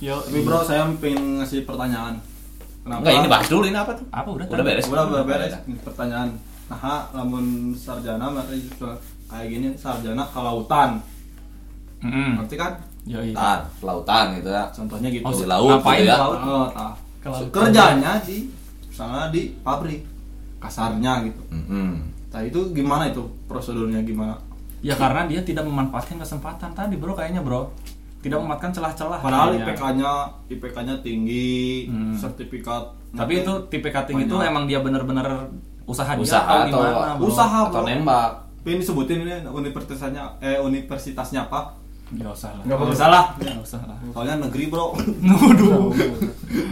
Speaker 4: Yo,
Speaker 7: tapi bro saya pengen ngasih pertanyaan kenapa
Speaker 5: Enggak, ini bahas dulu ini apa tuh?
Speaker 4: apa udah?
Speaker 5: Udah beres.
Speaker 7: Udah udah beres pertanyaan. Nah, lamun sarjana maka justru kayak gini sarjana kelautan.
Speaker 5: Hmm.
Speaker 4: Mm-mm.
Speaker 7: Ngerti kan?
Speaker 4: Yo, iya.
Speaker 5: Lautan, lautan gitu ya.
Speaker 7: Contohnya gitu.
Speaker 5: Oh, di laut
Speaker 4: ngapain
Speaker 5: gitu ya.
Speaker 4: ke laut?
Speaker 7: Oh, tah.
Speaker 4: Ke laut.
Speaker 7: Kerjanya di misalnya di pabrik kasarnya gitu
Speaker 5: Hmm.
Speaker 7: nah itu gimana itu prosedurnya gimana
Speaker 4: Ya karena dia tidak memanfaatkan kesempatan tadi bro kayaknya bro Tidak memanfaatkan celah-celah Iya.
Speaker 7: padahal
Speaker 4: kayaknya.
Speaker 7: IPK-nya IPK-nya tinggi
Speaker 4: Hmm.
Speaker 7: sertifikat
Speaker 4: Tapi itu tipe cutting itu
Speaker 7: Banyak.
Speaker 4: emang dia bener-bener usaha,
Speaker 5: Usaha
Speaker 4: dia atau
Speaker 5: atau-
Speaker 4: gimana bro?
Speaker 7: usaha
Speaker 5: atau
Speaker 7: bro.
Speaker 5: nembak
Speaker 7: Tapi ini sebutin ini universitasnya eh universitasnya apa
Speaker 4: Gak usah Ya, lah
Speaker 2: Nggak
Speaker 7: nggak usah lah
Speaker 4: Gak usah lah
Speaker 7: soalnya negeri bro
Speaker 4: Waduh iya.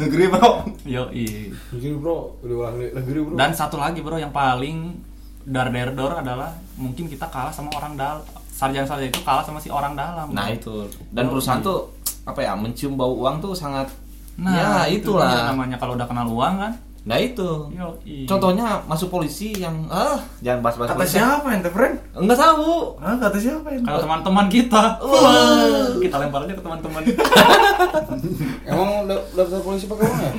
Speaker 7: negeri bro
Speaker 4: Yoi
Speaker 6: Negeri bro, udah ulang negeri bro.
Speaker 4: Dan satu lagi bro yang paling dar dar dor adalah mungkin kita kalah sama orang dalam sarjana sarjana itu kalah sama si orang dalam.
Speaker 5: nah itu dan perusahaan tuh apa ya mencium bau uang tuh sangat
Speaker 4: Nah,
Speaker 5: ya
Speaker 4: itu dia
Speaker 5: itulah
Speaker 4: namanya kalau udah kenal uang kan.
Speaker 5: nah itu
Speaker 4: Yoi.
Speaker 5: contohnya masuk polisi yang ah jangan bahas-bahas
Speaker 2: Kata
Speaker 5: polisi.
Speaker 2: siapa ente, friend?
Speaker 5: enggak tahu
Speaker 2: Hah, kata siapa ente?
Speaker 4: kalau teman-teman kita, Wah, kita lempar aja ke teman-teman.
Speaker 6: Emang da- daftar polisi pakai uang ya?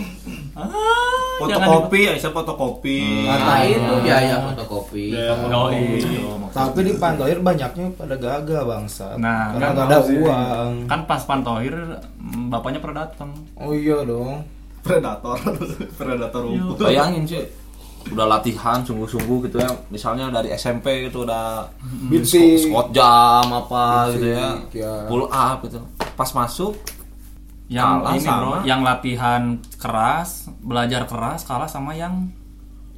Speaker 4: Ah, jangan Hmm.
Speaker 7: fotokopi Aisyah fotokopi
Speaker 8: Nah, itu biaya fotokopi.
Speaker 4: di- Yoi.
Speaker 7: Gitu.
Speaker 10: Tapi di Pantoir banyaknya pada gagal bangsa.
Speaker 4: Nah,
Speaker 10: karena
Speaker 4: nggak
Speaker 10: gak ada
Speaker 2: tahu sih.
Speaker 10: uang.
Speaker 4: Kan pas Pantohir mm, bapaknya pernah datang.
Speaker 10: Oh iya dong.
Speaker 7: predator predator
Speaker 11: Iya.
Speaker 7: rumput
Speaker 5: bayangin sih udah latihan sungguh-sungguh gitu ya misalnya dari SMP gitu udah
Speaker 4: Hmm,
Speaker 6: Binsi.
Speaker 5: squat jam apa gitu ya
Speaker 6: ya.
Speaker 5: pull up gitu pas masuk
Speaker 4: Yang
Speaker 5: Kalah
Speaker 4: ini bro,
Speaker 5: sama-
Speaker 4: yang latihan keras, belajar keras kalah sama yang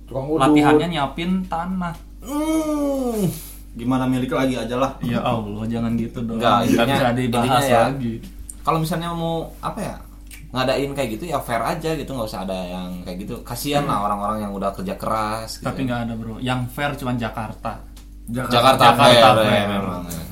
Speaker 6: Tukang udut.
Speaker 4: latihannya nyiapin tanah.
Speaker 5: hmm,
Speaker 7: gimana milik lagi aja lah
Speaker 4: Ya
Speaker 11: Iya.
Speaker 4: Allah, jangan gitu dong. Nggak
Speaker 5: Nggak, intinya-
Speaker 4: bisa dibahas
Speaker 5: intinya ya.
Speaker 4: lagi.
Speaker 5: kalau misalnya mau apa ya ngadain kayak gitu ya fair aja gitu nggak usah ada yang kayak gitu kasihan lah orang-orang yang udah kerja keras gitu
Speaker 4: Tapi
Speaker 6: Iya.
Speaker 4: nggak ada bro. Yang fair cuman Jakarta.
Speaker 5: Jakarta,
Speaker 4: Jakarta
Speaker 5: fair,
Speaker 4: fair.
Speaker 5: ya, memang ya.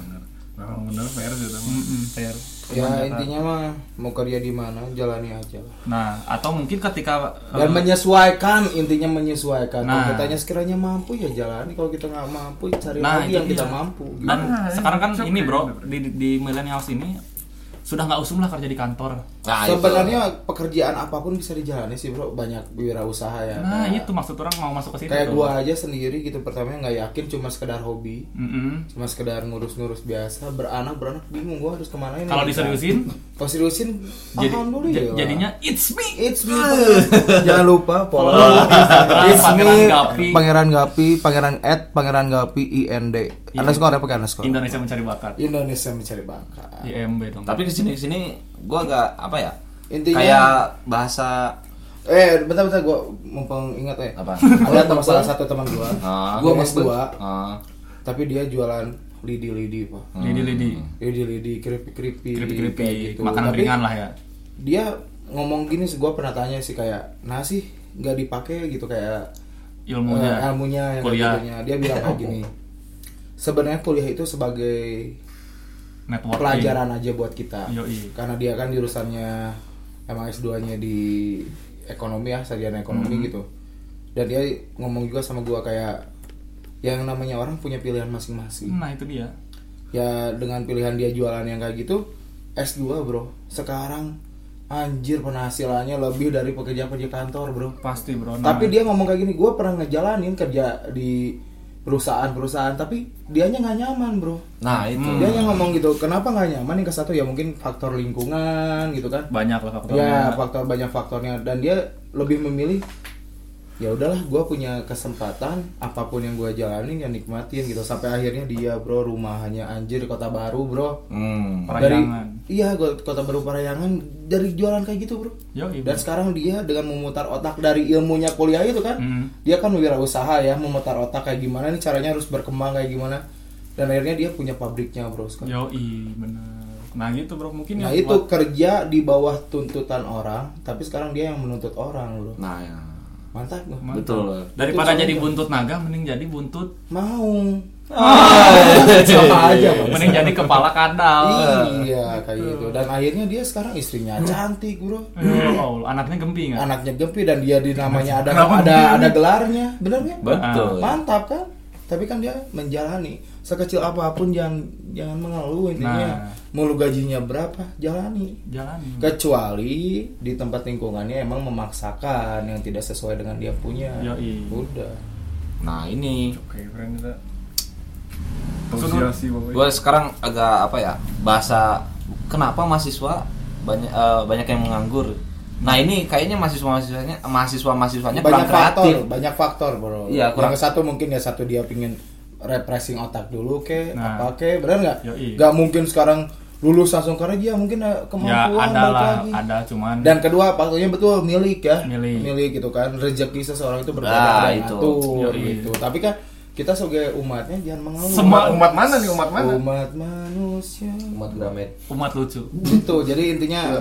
Speaker 2: Nah, bener fair sih teman.
Speaker 4: Mm-mm, fair.
Speaker 6: Ya intinya mah mau kerja di mana jalani aja. lah.
Speaker 4: Nah, atau mungkin ketika
Speaker 6: Dan
Speaker 4: eh,
Speaker 6: menyesuaikan intinya menyesuaikan. Kalau
Speaker 4: Nah.
Speaker 6: kitanya sekiranya mampu ya jalani. Kalau kita nggak mampu cari
Speaker 4: Nah,
Speaker 6: lagi
Speaker 4: itu
Speaker 6: yang kita
Speaker 4: dia.
Speaker 6: mampu.
Speaker 4: dan
Speaker 2: Nah,
Speaker 4: sekarang kan
Speaker 2: itu
Speaker 4: ini bro
Speaker 2: bener-bener.
Speaker 4: di di millennials ini sudah nggak usum lah kerja di kantor.
Speaker 5: nah, itu.
Speaker 6: Sebenarnya pekerjaan apapun bisa dijalani sih bro. Banyak wirausaha ya.
Speaker 4: Nah,
Speaker 6: Kayak-
Speaker 4: itu maksud orang mau masuk ke situ.
Speaker 6: Kayak
Speaker 4: tuh.
Speaker 6: gua aja sendiri gitu pertamanya nggak yakin cuma sekedar hobi.
Speaker 4: Mm-mm.
Speaker 6: cuma sekedar ngurus-ngurus biasa beranak beranak bingung gua harus kemana ini
Speaker 4: Kalau diseriusin,
Speaker 6: kalau seriusin
Speaker 4: jadi,
Speaker 6: alhamdulillah
Speaker 4: ja- jadinya it's me.
Speaker 6: ya. it's me jangan lupa follow
Speaker 4: Oh, Instagram Pangeran Gapi.
Speaker 10: Pangeran Gapi, Pangeran Ed, Pangeran Gapi IND.
Speaker 4: Iya.
Speaker 10: Underscore apa pakai underscore?
Speaker 4: Indonesia mencari bakat.
Speaker 6: Iya. Indonesia mencari bakat
Speaker 4: IMB dong.
Speaker 5: tapi kesini kesini gua agak apa ya
Speaker 6: Intinya-
Speaker 5: kayak bahasa
Speaker 6: eh bentar-bentar gua mumpung ingat ya
Speaker 5: Apa?
Speaker 6: ada teman salah satu teman gua
Speaker 4: Iya,
Speaker 5: Ah.
Speaker 6: gua mas dua
Speaker 5: ah,
Speaker 6: tapi dia jualan lidi-lidi pak
Speaker 4: lidi-lidi,
Speaker 6: lidi-lidi keripik-keripik
Speaker 4: kripi-kripi,
Speaker 6: Hmm. kayak gitu.
Speaker 4: makanan
Speaker 6: Tapi-
Speaker 4: ringan lah ya.
Speaker 6: dia ngomong gini sih gue pernah tanya sih kayak nah sih nggak dipakai gitu kayak
Speaker 4: Ilmunya.
Speaker 6: eh, ilmunya yang kayak
Speaker 4: Kuliah.
Speaker 6: gitunya. dia bilang kayak gini sebenarnya kuliah itu sebagai
Speaker 4: Networking.
Speaker 6: pelajaran aja buat kita
Speaker 4: Yoi.
Speaker 6: karena dia kan jurusannya emang S2 nya di ekonomi ya sarjana ekonomi
Speaker 4: Hmm.
Speaker 6: gitu dan dia ngomong juga sama gue kayak yang namanya orang punya pilihan masing-masing
Speaker 4: Nah, itu dia.
Speaker 6: ya dengan pilihan dia jualan yang kayak gitu S2 bro sekarang anjir penghasilannya lebih dari pekerja-pekerja kantor bro
Speaker 4: Pasti, Bro. Nah,
Speaker 6: tapi dia ngomong kayak gini gue pernah ngejalanin kerja di perusahaan-perusahaan tapi dianya nggak nyaman bro
Speaker 5: nah itu
Speaker 6: dia yang ngomong gitu kenapa nggak nyaman yang ke satu ya mungkin faktor lingkungan gitu kan
Speaker 4: banyak lah faktornya.
Speaker 6: ya faktor banyak faktornya dan dia lebih memilih ya udahlah gue punya kesempatan apapun yang gue jalanin ya nikmatin gitu sampai akhirnya dia bro rumahnya anjir kota baru bro
Speaker 5: Hmm.
Speaker 4: Parayangan.
Speaker 6: dari iya gua- kota baru Parayangan dari jualan kayak gitu bro
Speaker 4: Yoi, Iya, Bro.
Speaker 6: dan sekarang dia dengan memutar otak dari ilmunya kuliah itu kan
Speaker 4: Hmm.
Speaker 6: dia kan wirausaha ya memutar otak kayak gimana nih caranya harus berkembang kayak gimana dan akhirnya dia punya pabriknya bro sekarang
Speaker 4: Yoi, bener. Nah gitu bro, mungkin
Speaker 6: nah
Speaker 4: yang
Speaker 6: itu
Speaker 4: buat-
Speaker 6: kerja di bawah tuntutan orang tapi sekarang dia yang menuntut orang bro
Speaker 5: nah ya.
Speaker 6: mantap gua.
Speaker 4: Mantap.
Speaker 5: betul
Speaker 4: daripada
Speaker 6: Itu
Speaker 4: jadi
Speaker 6: soalnya.
Speaker 4: buntut naga, mending jadi buntut,
Speaker 6: mau sama aja bro
Speaker 4: Eh, mending jadi kepala kadal.
Speaker 6: iya kayak gitu dan akhirnya dia sekarang istrinya cantik bro
Speaker 4: Ya Allah, anaknya ya? gempy nggak?
Speaker 6: anaknya Gempi dan dia di namanya ada ada ada gelarnya benar nggak?
Speaker 5: betul
Speaker 4: Ah,
Speaker 6: mantap kan tapi kan dia menjalani sekecil apapun jangan jangan mengeluh
Speaker 4: Nah.
Speaker 6: intinya
Speaker 4: Hmm.
Speaker 6: mau lu gajinya berapa jalani
Speaker 4: Jalan.
Speaker 6: kecuali di tempat lingkungannya emang memaksakan yang tidak sesuai dengan dia punya
Speaker 4: Yoi.
Speaker 6: udah
Speaker 5: nah ini
Speaker 2: Oke, friend kita. Asosiasi
Speaker 5: gue
Speaker 2: pokoknya.
Speaker 5: sekarang agak apa ya bahasa kenapa mahasiswa banyak eh, banyak yang menganggur Nah ini kayaknya mahasiswa-mahasiswanya mahasiswa-mahasiswanya
Speaker 12: banyak
Speaker 5: kurang
Speaker 12: faktor,
Speaker 5: kreatif.
Speaker 12: banyak faktor bro.
Speaker 5: Iya, kurang-
Speaker 12: Yang satu mungkin ya satu dia pingin refreshing otak dulu ke,
Speaker 4: Nah.
Speaker 12: apa ke, benar nggak?
Speaker 4: Yoi.
Speaker 12: Nggak mungkin sekarang lulus langsung kerja, mungkin eh,
Speaker 4: ya
Speaker 12: kemampuan
Speaker 4: ada
Speaker 12: balik
Speaker 4: lah
Speaker 12: lagi.
Speaker 4: ada cuman
Speaker 12: Dan kedua faktornya betul milik ya,
Speaker 4: Milik.
Speaker 12: gitu kan. Rezeki seseorang itu berbeda
Speaker 5: Nah,
Speaker 12: ada yang
Speaker 5: itu.
Speaker 12: ngatur,
Speaker 4: Yoi.
Speaker 12: gitu. Tapi kan kita sebagai umatnya jangan mengeluh.
Speaker 4: Semua
Speaker 2: umat mana nih umat mana
Speaker 12: umat manusia.
Speaker 5: Umat Gramet.
Speaker 4: umat lucu
Speaker 12: Itu jadi intinya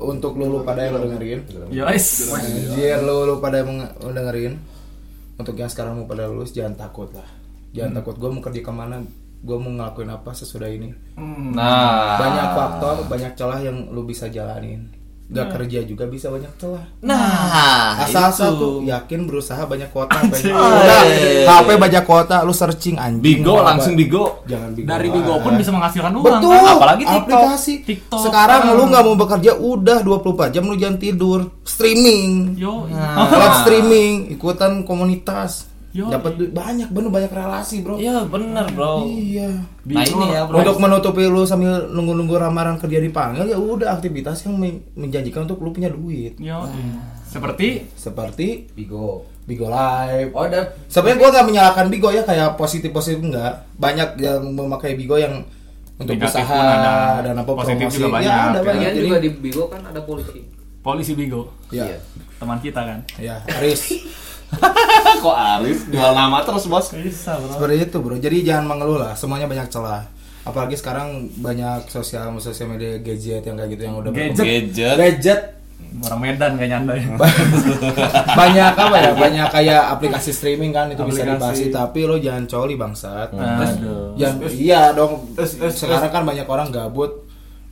Speaker 12: untuk lulu pada yang dengerin.
Speaker 4: Yois.
Speaker 12: Anjir lu lu pada meng- lu dengerin untuk yang sekarang mau pada lulus jangan takut lah jangan takut gue mau kerja kemana gue mau ngelakuin apa sesudah ini
Speaker 4: Hmm.
Speaker 5: Nah,
Speaker 12: banyak faktor banyak celah yang lu bisa jalanin gak
Speaker 4: Hmm.
Speaker 12: kerja juga bisa banyak celah
Speaker 5: Nah,
Speaker 12: asal
Speaker 5: itu.
Speaker 12: satu yakin berusaha banyak kota pengen
Speaker 6: Udah,
Speaker 5: Eh.
Speaker 6: HP banyak kuota, lu searching anjing.
Speaker 5: Bigo
Speaker 12: Apa?
Speaker 5: langsung bigo.
Speaker 12: jangan bingung
Speaker 4: dari Bigo pun bisa menghasilkan uang
Speaker 12: betul
Speaker 4: kan apalagi TikTok
Speaker 12: aplikasi
Speaker 4: TikTok Hmm.
Speaker 6: Sekarang lu nggak mau bekerja udah 24 jam lu jangan tidur, streaming.
Speaker 4: kan? yo
Speaker 6: Live streaming, ikutan komunitas.
Speaker 4: Yo.
Speaker 6: Dapat duit banyak bener banyak relasi, Bro.
Speaker 5: Iya bener bro.
Speaker 6: Iya.
Speaker 5: Nah ini ya bro.
Speaker 6: Untuk menutupi lu sambil nunggu-nunggu ramaran kerja dipanggil ya udah aktivitas yang men- menjanjikan untuk lu punya duit.
Speaker 4: yo seperti
Speaker 6: Seperti
Speaker 5: Bigo.
Speaker 6: Bigo Live.
Speaker 5: Oh dan
Speaker 6: Sebenarnya gua nggak menyalahkan Bigo ya kayak positif positif enggak. Banyak yang memakai Bigo yang untuk
Speaker 4: Negatif
Speaker 6: usaha
Speaker 4: pun ada.
Speaker 6: dan apa
Speaker 4: Positif
Speaker 6: promosi.
Speaker 4: juga
Speaker 6: Ya,
Speaker 4: banyak,
Speaker 6: ada
Speaker 4: ya.
Speaker 6: banyak.
Speaker 8: Lagian
Speaker 6: Jadi,
Speaker 8: juga di Bigo kan ada polisi.
Speaker 4: polisi Bigo
Speaker 6: ya,
Speaker 4: teman kita kan
Speaker 8: iya.
Speaker 6: ya, Aris.
Speaker 5: kok Arif jual nama terus bos.
Speaker 4: bisa bro
Speaker 6: Seperti itu, Bro. Jadi jangan mengeluh lah, semuanya banyak celah. Apalagi sekarang banyak sosial sosial media gadget yang kayak gitu yang udah
Speaker 4: Gadget.
Speaker 6: berkembang.
Speaker 5: Gadget.
Speaker 6: gadget
Speaker 4: orang Medan kayaknya anda ya
Speaker 6: banyak apa ya banyak kayak aplikasi streaming kan itu bisa
Speaker 4: Aplikasi.
Speaker 6: dibahas tapi lo jangan coli bangsat
Speaker 5: Nah,
Speaker 4: Aduh.
Speaker 6: Ya, iya dong. Sekarang kan banyak orang gabut.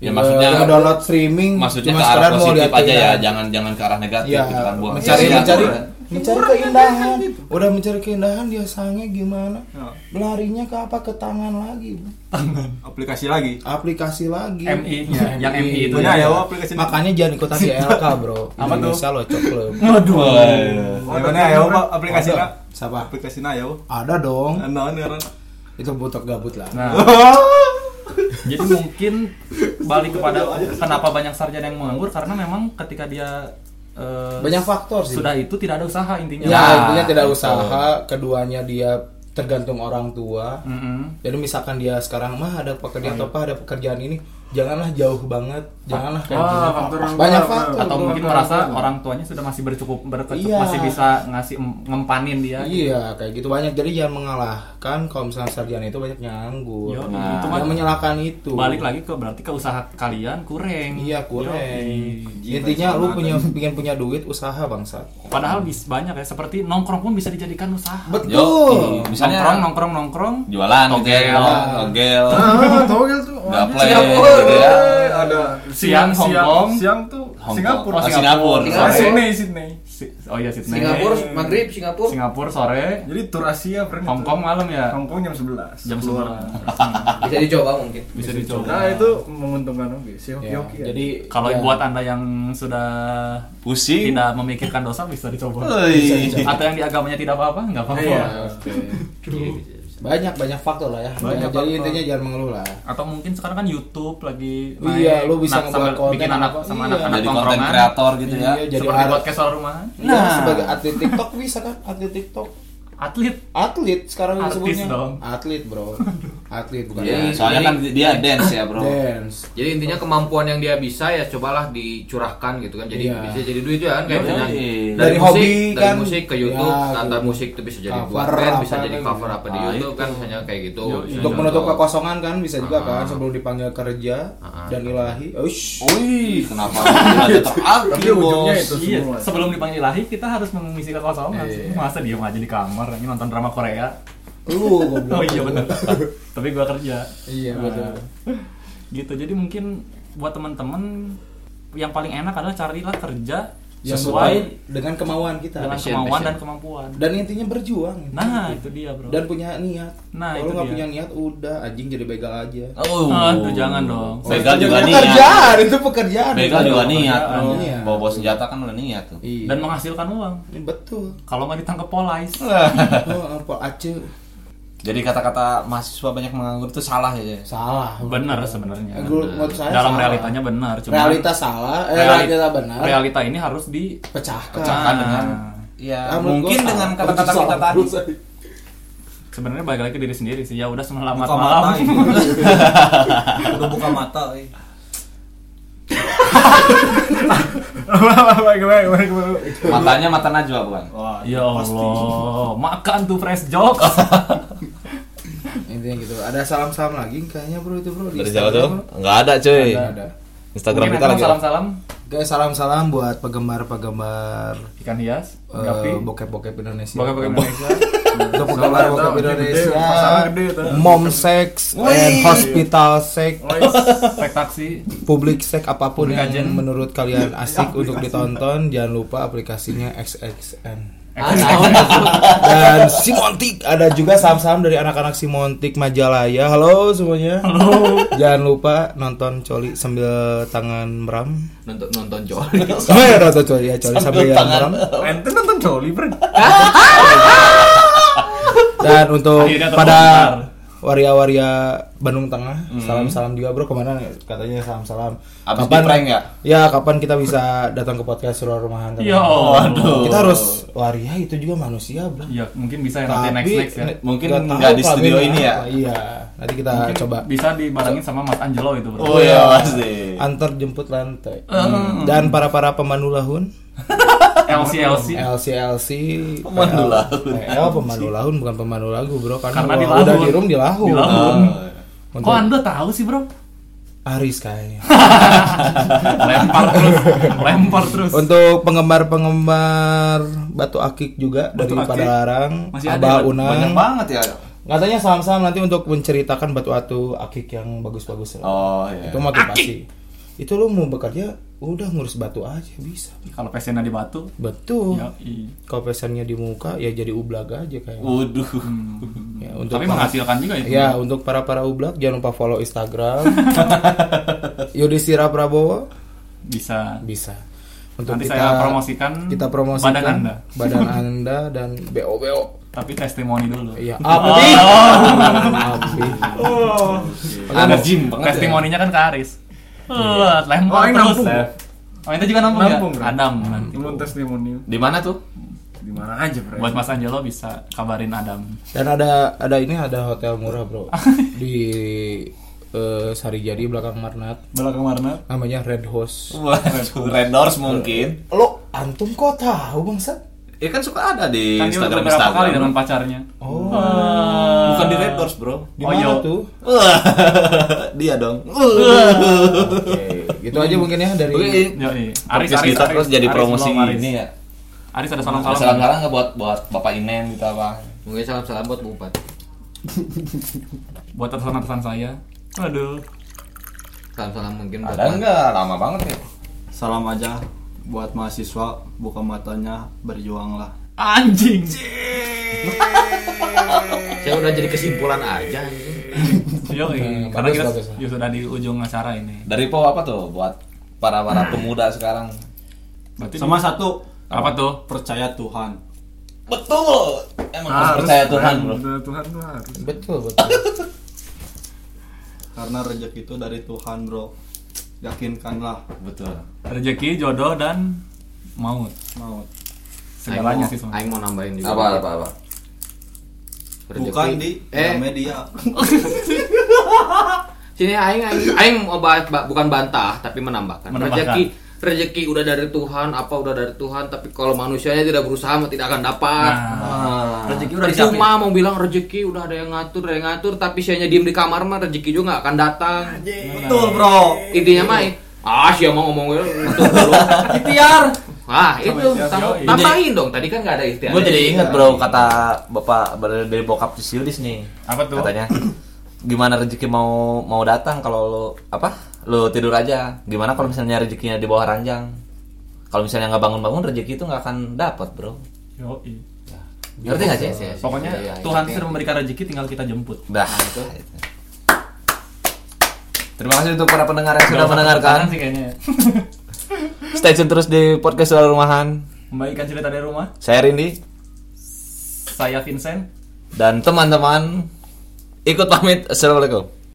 Speaker 5: Ya, maksudnya-
Speaker 6: Eh, download streaming
Speaker 5: Maksudnya
Speaker 6: cuma
Speaker 5: ke
Speaker 6: sekedar
Speaker 5: arah
Speaker 6: mau
Speaker 5: positif
Speaker 6: liatin
Speaker 5: aja ya,
Speaker 6: kan.
Speaker 5: jangan jangan ke arah negatif
Speaker 6: Iya,
Speaker 5: gitu kan buang.
Speaker 6: mencari
Speaker 5: Iya,
Speaker 6: mencari
Speaker 5: buang.
Speaker 6: mencari keindahan. Udah mencari keindahan dia sangnya gimana? Larinya ke apa? Ke tangan lagi.
Speaker 7: aplikasi lagi
Speaker 6: Aplikasi lagi.
Speaker 4: MI nya yang MI itu
Speaker 7: Benar
Speaker 4: ya
Speaker 7: ya, Wo, aplikasi ini.
Speaker 6: Makanya jangan ikutan di LK, Bro.
Speaker 4: Apa tuh? Ya,
Speaker 6: Indonesia lo club.
Speaker 4: waduh
Speaker 11: Iya.
Speaker 7: Gimana ya, Wo, aplikasi na?
Speaker 6: Siapa?
Speaker 7: Aplikasi
Speaker 11: nah,
Speaker 7: na ya, Wo.
Speaker 6: Ada dong.
Speaker 7: Nah, ini orang.
Speaker 6: Itu butuh gabut lah.
Speaker 4: nah jadi mungkin balik kepada kenapa banyak sarjana yang menganggur karena memang ketika dia eh,
Speaker 6: Banyak faktor sih.
Speaker 4: sudah itu tidak ada usaha intinya Nah.
Speaker 6: Ya, intinya tidak usaha, keduanya dia tergantung orang tua.
Speaker 4: Mm-mm.
Speaker 6: Jadi misalkan dia sekarang mah ada pekerjaan atau apa ada pekerjaan ini, janganlah jauh banget, janganlah
Speaker 4: Ah,
Speaker 2: Wah, faktor orang
Speaker 6: banyak
Speaker 2: tua,
Speaker 6: faktor.
Speaker 4: atau
Speaker 2: Betul,
Speaker 4: mungkin
Speaker 2: betul,
Speaker 4: merasa
Speaker 2: betul.
Speaker 4: orang tuanya sudah masih bercukup berkecukup
Speaker 6: Iya.
Speaker 4: masih bisa ngasih em- ngempanin dia
Speaker 6: Iya, kayak gitu banyak. Jadi jangan mengalahkan kalau misalnya sarjana itu banyak nganggur.
Speaker 4: Yo,
Speaker 6: Nah,
Speaker 4: itu mah-
Speaker 6: yang menyalahkan itu.
Speaker 4: balik lagi ke berarti ke usaha kalian kurang
Speaker 6: Iya, kurang.
Speaker 4: Yoi.
Speaker 6: Intinya
Speaker 4: Iya,
Speaker 6: lu punya pingin punya duit, usaha bangsat.
Speaker 4: padahal bis banyak ya seperti nongkrong pun bisa dijadikan usaha
Speaker 5: Yo,
Speaker 6: Betul.
Speaker 5: i- misalnya
Speaker 4: nongkrong nongkrong nongkrong
Speaker 5: jualan gitu ya, togel, togel,
Speaker 2: ah togel tuh Wah,
Speaker 5: gaple
Speaker 2: Singapura.
Speaker 5: gitu
Speaker 6: Oh,
Speaker 5: ya.
Speaker 2: Eh, ada
Speaker 4: Siang, Hong Kong.
Speaker 2: siang tuh
Speaker 5: Hongkong.
Speaker 2: Singapura
Speaker 5: Oh, Singapura.
Speaker 2: Ah,
Speaker 5: Sore.
Speaker 2: Sydney Sydney
Speaker 4: Si- oh iya Sydney
Speaker 8: Singapura, Maghrib, Singapura.
Speaker 4: Singapura sore
Speaker 2: jadi tur Asia friend
Speaker 4: Hong Kong malam ya
Speaker 2: Hongkong jam 11
Speaker 4: jam
Speaker 2: Keluar.
Speaker 4: sembilan
Speaker 8: Bisa dicoba mungkin.
Speaker 4: bisa
Speaker 2: nah
Speaker 4: dicoba
Speaker 2: itu menguntungkan oke si hoki
Speaker 6: Ya,
Speaker 2: hoki
Speaker 4: iya.
Speaker 2: ya.
Speaker 6: jadi
Speaker 4: kalau
Speaker 6: ya,
Speaker 4: buat anda yang sudah
Speaker 5: Pusing.
Speaker 4: tidak memikirkan dosa bisa dicoba
Speaker 5: Hei.
Speaker 4: atau yang di agamanya tidak apa-apa nggak apa-apa
Speaker 2: Iya.
Speaker 6: banyak banyak faktor lah ya.
Speaker 4: Banyak
Speaker 6: jadi
Speaker 4: faktor.
Speaker 6: intinya jangan mengeluh lah.
Speaker 4: atau mungkin sekarang kan YouTube lagi
Speaker 6: Iya, lu bisa ngebuat
Speaker 4: sambil
Speaker 6: konten
Speaker 4: bikin anak
Speaker 6: apa,
Speaker 4: sama
Speaker 6: iya.
Speaker 4: anak-anak
Speaker 5: Jadi konten
Speaker 4: nongkrongan
Speaker 5: kreator gitu ya.
Speaker 6: Iya, jadi
Speaker 4: seperti
Speaker 6: ar-
Speaker 4: buat kesel rumahan
Speaker 6: Nah, sebagai atlet TikTok bisa kan? Atlet TikTok.
Speaker 4: atlet
Speaker 6: Atlet sekarang
Speaker 4: Artis
Speaker 6: disebutnya.
Speaker 4: dong.
Speaker 6: Atlet, Bro. Atlet bukan
Speaker 5: Iya,
Speaker 6: atlet.
Speaker 5: soalnya kan dia dance ya, Bro.
Speaker 6: dance.
Speaker 8: Jadi intinya kemampuan yang dia bisa ya cobalah dicurahkan gitu kan. Jadi
Speaker 6: Iya.
Speaker 8: bisa jadi duit juga kan kayak
Speaker 5: Iya,
Speaker 8: misalnya
Speaker 5: iya.
Speaker 6: Dari
Speaker 8: dari, musik,
Speaker 6: hobi
Speaker 8: dari
Speaker 6: kan.
Speaker 8: musik ke YouTube,
Speaker 6: Ya,
Speaker 8: tata
Speaker 6: gitu.
Speaker 8: musik itu bisa jadi
Speaker 6: Cover
Speaker 8: buat band, bisa
Speaker 6: apa
Speaker 8: jadi
Speaker 6: kan
Speaker 8: cover apa di
Speaker 5: Nah,
Speaker 8: YouTube kan misalnya kayak gitu.
Speaker 4: Iya,
Speaker 8: Misalnya
Speaker 6: Iya, Untuk menutup
Speaker 8: contoh.
Speaker 6: kekosongan kan bisa juga
Speaker 8: Ah.
Speaker 6: kan sebelum dipanggil kerja
Speaker 8: Ah.
Speaker 6: dan ilahi. Ush.
Speaker 5: Wih, kenapa ada
Speaker 2: tapi
Speaker 5: teraktif,
Speaker 2: ujungnya
Speaker 5: Bos?
Speaker 2: itu
Speaker 4: Iya,
Speaker 2: semua
Speaker 4: sebelum dipanggil ilahi kita harus mengisi kekosongan. sih. Masa diem aja di kamar ini nonton drama Korea.
Speaker 6: Lu
Speaker 4: Oh
Speaker 6: goblok.
Speaker 4: iya benar. Tapi gua kerja.
Speaker 6: Iya,
Speaker 4: Nah,
Speaker 6: betul.
Speaker 4: Gitu. Jadi mungkin buat teman-teman yang paling enak adalah carilah kerja
Speaker 6: Yang
Speaker 4: sesuai
Speaker 6: Ya, sesuai dengan kemauan kita.
Speaker 4: dengan
Speaker 8: passion,
Speaker 4: kemauan
Speaker 8: passion.
Speaker 4: dan kemampuan.
Speaker 6: Dan intinya berjuang.
Speaker 4: Nah, itu dia, Bro.
Speaker 6: Dan punya niat.
Speaker 4: Nah,
Speaker 6: Kalau
Speaker 4: itu
Speaker 6: nggak
Speaker 4: dia.
Speaker 6: punya niat udah anjing jadi begal aja.
Speaker 5: Oh,
Speaker 4: Aduh, Ah, jangan dong.
Speaker 5: Begal juga niat.
Speaker 6: pekerjaan, itu pekerjaan.
Speaker 5: Begal juga niat, Bro.
Speaker 6: Iya.
Speaker 5: Bawa-bawa senjata kan udah niat tuh.
Speaker 6: Iya.
Speaker 4: Dan menghasilkan uang.
Speaker 6: Betul.
Speaker 4: Kalau nggak ditangkap polisi.
Speaker 6: Oh, apa Aceh
Speaker 5: Jadi kata-kata mahasiswa banyak menganggur itu salah ya.
Speaker 6: Salah.
Speaker 4: Benar sebenarnya.
Speaker 6: Eh, gua- menurut saya
Speaker 4: Dalam
Speaker 6: salah.
Speaker 4: realitanya benar. Cuma
Speaker 6: realita salah, eh,
Speaker 4: reali-
Speaker 6: realita benar. Ah.
Speaker 4: Realita ini harus di Nah,
Speaker 6: Pecahkan.
Speaker 4: Pecahkan dengan
Speaker 5: Iya,
Speaker 6: Ah, menurut
Speaker 5: mungkin
Speaker 6: Nah. gua
Speaker 5: dengan
Speaker 6: salah.
Speaker 5: kata-kata
Speaker 6: Salah
Speaker 5: kita tadi.
Speaker 6: menurut saya.
Speaker 4: sebenarnya balik lagi ke diri sendiri sih. Ya udah selamat
Speaker 11: Buka
Speaker 4: malam.
Speaker 11: mata ini. Udah buka mata. eh.
Speaker 5: Matanya mata Najwa bukan?
Speaker 7: Wah,
Speaker 4: ya Allah, makan tuh fresh jokes.
Speaker 6: Intinya gitu. Ada salam-salam lagi kayaknya bro itu bro. di
Speaker 5: Dari
Speaker 6: Instagram,
Speaker 5: Jawa tuh?
Speaker 6: bro.
Speaker 5: Enggak ada cuy.
Speaker 6: Nggak ada.
Speaker 5: Instagram
Speaker 4: Mungkin
Speaker 5: kita
Speaker 4: akan
Speaker 6: ya.
Speaker 5: lagi.
Speaker 4: salam-salam
Speaker 6: Guys, salam-salam buat penggemar-penggemar
Speaker 4: ikan hias,
Speaker 6: eh,
Speaker 4: gapi,
Speaker 6: bokep-bokep Indonesia.
Speaker 4: bokep-bokep Indonesia.
Speaker 6: Untuk penggemar bokep Indonesia.
Speaker 2: Pasar gede tuh.
Speaker 6: Mom sex and hospital sex,
Speaker 4: Spek taksi.
Speaker 6: public sex apapun
Speaker 4: Public
Speaker 6: yang
Speaker 4: agent.
Speaker 6: menurut kalian asik untuk ditonton, jangan lupa aplikasinya XXN.
Speaker 4: Ah,
Speaker 6: Dan Simontik ada juga saham-saham dari anak-anak Simontik Majalaya. Halo semuanya. Halo. Jangan lupa nonton Coli sambil tangan meram.
Speaker 8: nonton nonton coli
Speaker 6: Oh ya nonton Coli ya Coli sambil, meram.
Speaker 2: Ente nonton Jolly Bird.
Speaker 6: Dan untuk
Speaker 4: Akhirnya
Speaker 6: pada
Speaker 4: terbongkar.
Speaker 6: waria-waria Bandung Tengah, salam-salam juga bro kemana nih? katanya salam-salam.
Speaker 5: Abis di prank ya?
Speaker 6: Ya kapan kita bisa datang ke podcast Surah Rumahan? teman-teman?
Speaker 4: Ya Allah.
Speaker 6: Kita harus waria itu juga manusia bro.
Speaker 4: Ya mungkin bisa ya nanti next next ya.
Speaker 5: Mungkin
Speaker 6: nggak tahu
Speaker 5: nggak di studio
Speaker 6: kelaminnya
Speaker 5: ini ya?
Speaker 6: apa. Iya. Nanti kita
Speaker 4: Mungkin
Speaker 6: coba
Speaker 4: Bisa dibarengin sama Mas Angelo itu bro.
Speaker 5: Oh iya pasti.
Speaker 6: antar jemput lantai.
Speaker 4: Ah.
Speaker 6: Dan para para pemandu lahun,
Speaker 4: LC LC.
Speaker 6: LC LC,
Speaker 5: Pemandu
Speaker 6: PL,
Speaker 5: lahun.
Speaker 6: PL Eh, pemandu lahun bukan pemandu lagu bro, karena,
Speaker 4: Karena di
Speaker 6: kalau udah
Speaker 4: lahun.
Speaker 6: di room di lahun.
Speaker 4: Di lahun. Kok
Speaker 6: Untuk
Speaker 4: anda tahu sih bro?
Speaker 6: Aris kayaknya.
Speaker 4: Lempar terus, lempar terus.
Speaker 6: Untuk penggemar-penggemar batu akik juga
Speaker 4: Batu
Speaker 6: dari
Speaker 4: akik.
Speaker 6: Padalarang,
Speaker 4: Masih ada
Speaker 6: Abah
Speaker 4: ya?
Speaker 5: Banyak
Speaker 6: Unang.
Speaker 5: banget ya.
Speaker 6: Katanya saham-saham nanti untuk menceritakan batu atu akik yang bagus-bagus.
Speaker 5: Oh iya.
Speaker 6: Itu motivasi. Itu lu mau bekerja udah ngurus batu aja bisa.
Speaker 4: Kalau pesennya di batu,
Speaker 6: Betul.
Speaker 4: ya i-
Speaker 6: Kalau pesannya di muka ya jadi ublak aja kayak.
Speaker 5: Waduh.
Speaker 6: Ya, untuk
Speaker 4: tapi
Speaker 6: para-
Speaker 4: menghasilkan juga itu.
Speaker 6: Ya, untuk para para ublak jangan lupa follow Instagram. Yudhistira Prabowo
Speaker 4: Bisa.
Speaker 6: bisa. Untuk
Speaker 4: Nanti
Speaker 6: kita
Speaker 4: saya promosikan.
Speaker 6: kita promosikan
Speaker 4: badan anda.
Speaker 6: badan Anda dan BO
Speaker 4: Tapi testimoni dulu.
Speaker 6: Iya, api.
Speaker 4: Oh.
Speaker 6: Api.
Speaker 4: Ada gym banget. Testimoninya kan ke Aris.
Speaker 6: Iya.
Speaker 4: Eh,
Speaker 2: Oh,
Speaker 4: lempar
Speaker 2: yang
Speaker 4: terus.
Speaker 2: nampung.
Speaker 4: Oh, itu juga nampung,
Speaker 2: Nampung,
Speaker 4: ya?
Speaker 2: bro.
Speaker 4: Adam nanti.
Speaker 2: Lu testimonial
Speaker 5: Di mana tuh?
Speaker 2: di mana aja, Bro.
Speaker 4: Buat Mas Angelo bisa kabarin Adam.
Speaker 6: Dan ada ada ini ada hotel murah, Bro. Di eh, Sari Jadi belakang Marnat.
Speaker 4: Belakang warna.
Speaker 6: Namanya Red House.
Speaker 5: Waduh, Red Doors mungkin.
Speaker 6: Lo antum kok tahu, Bangsat?
Speaker 5: Ya kan suka ada di
Speaker 4: Kan dia udah
Speaker 5: Instagram
Speaker 4: beberapa kali dengan
Speaker 5: Instagram.
Speaker 4: pacarnya.
Speaker 6: Oh.
Speaker 5: Bukan di Red Doors, Bro.
Speaker 6: Di
Speaker 4: Oh,
Speaker 6: mana
Speaker 4: iya.
Speaker 6: tuh?
Speaker 5: Dia dong.
Speaker 6: Gitu aja mungkin ya dari
Speaker 4: Yo, iya. Aris,
Speaker 5: Aris,
Speaker 4: Aris,
Speaker 5: kita
Speaker 4: Aris.
Speaker 5: terus jadi
Speaker 4: Aris,
Speaker 5: promosi
Speaker 4: belum, Aris.
Speaker 5: ini ya.
Speaker 4: Aris ada salam-salam.
Speaker 5: Salam-salam nggak buat buat Bapak Inen gitu apa?
Speaker 8: mungkin salam salam buat bupati
Speaker 4: buat atasan-atasan saya. Aduh.
Speaker 8: salam salam mungkin buat
Speaker 5: Ada nggak? Lama banget ya.
Speaker 11: Salam aja buat mahasiswa buka matanya berjuanglah.
Speaker 4: Anjing.
Speaker 8: saya udah jadi kesimpulan aja anjing.
Speaker 4: Yo,
Speaker 6: Hmm,
Speaker 4: karena
Speaker 6: bagus,
Speaker 4: kita
Speaker 6: bagus.
Speaker 4: ya sudah di ujung acara ini.
Speaker 5: Dari Po apa tuh buat para para pemuda sekarang?
Speaker 4: Berarti
Speaker 11: Sama satu
Speaker 4: apa tuh?
Speaker 11: percaya Tuhan.
Speaker 5: Betul. Emang harus
Speaker 2: Harus,
Speaker 5: percaya Tuhan, Bro.
Speaker 2: Bener, Tuhan tuh harus.
Speaker 6: Betul, betul.
Speaker 11: Karena rezeki itu dari Tuhan, Bro. Yakinkanlah
Speaker 5: Betul.
Speaker 4: Rezeki, jodoh dan maut.
Speaker 11: maut.
Speaker 8: Aing
Speaker 4: Segalanya
Speaker 8: mau,
Speaker 4: sih sebenarnya.
Speaker 8: Aing mau nambahin juga
Speaker 5: Apa apa apa?
Speaker 8: Rezeki.
Speaker 11: Bukan di
Speaker 8: eh
Speaker 11: media.
Speaker 8: sini aing aing aing mau bahas- ba- bukan bantah tapi menambahkan.
Speaker 4: Menambahkan.
Speaker 8: Rezeki rezeki udah dari Tuhan, apa udah dari Tuhan, tapi kalau manusianya tidak berusaha mah tidak akan dapat.
Speaker 5: Ah,
Speaker 4: rezeki udah disiapin.
Speaker 8: Cuma mau bilang rezeki udah ada yang ngatur, ada yang ngatur, tapi sianya diem di kamar mah rezeki juga nggak akan datang.
Speaker 11: Betul, Bro.
Speaker 8: Intinya mah ah siapa mau ngomongin untuk dulu.
Speaker 5: Ikhtiar.
Speaker 8: Wah, itu tam-
Speaker 4: Yoi.
Speaker 8: tambahin dong. Tadi kan nggak ada ikhtiar.
Speaker 5: Gue jadi ingat bro kata bapak dari bokap si Yudis nih.
Speaker 4: Apa tuh?
Speaker 5: Katanya gimana rezeki mau mau datang kalau lo apa? Lo tidur aja. Gimana kalau misalnya rezekinya di bawah ranjang? Kalau misalnya nggak bangun-bangun rezeki itu nggak akan dapat bro.
Speaker 4: Yo, i. Iya
Speaker 5: Ngerti nggak sih? Iya,
Speaker 4: Pokoknya Nah, Tuhan sudah memberikan rezeki tinggal kita jemput.
Speaker 5: Dah. Terima kasih untuk para pendengar yang sudah mendengarkan.
Speaker 4: Tangan sih kayaknya. ya.
Speaker 5: Stay tune terus di podcast Suara Rumahan.
Speaker 4: Membagikan cerita dari rumah.
Speaker 5: Saya Rindi.
Speaker 4: Saya Vincent.
Speaker 5: Dan teman-teman ikut pamit. Assalamualaikum.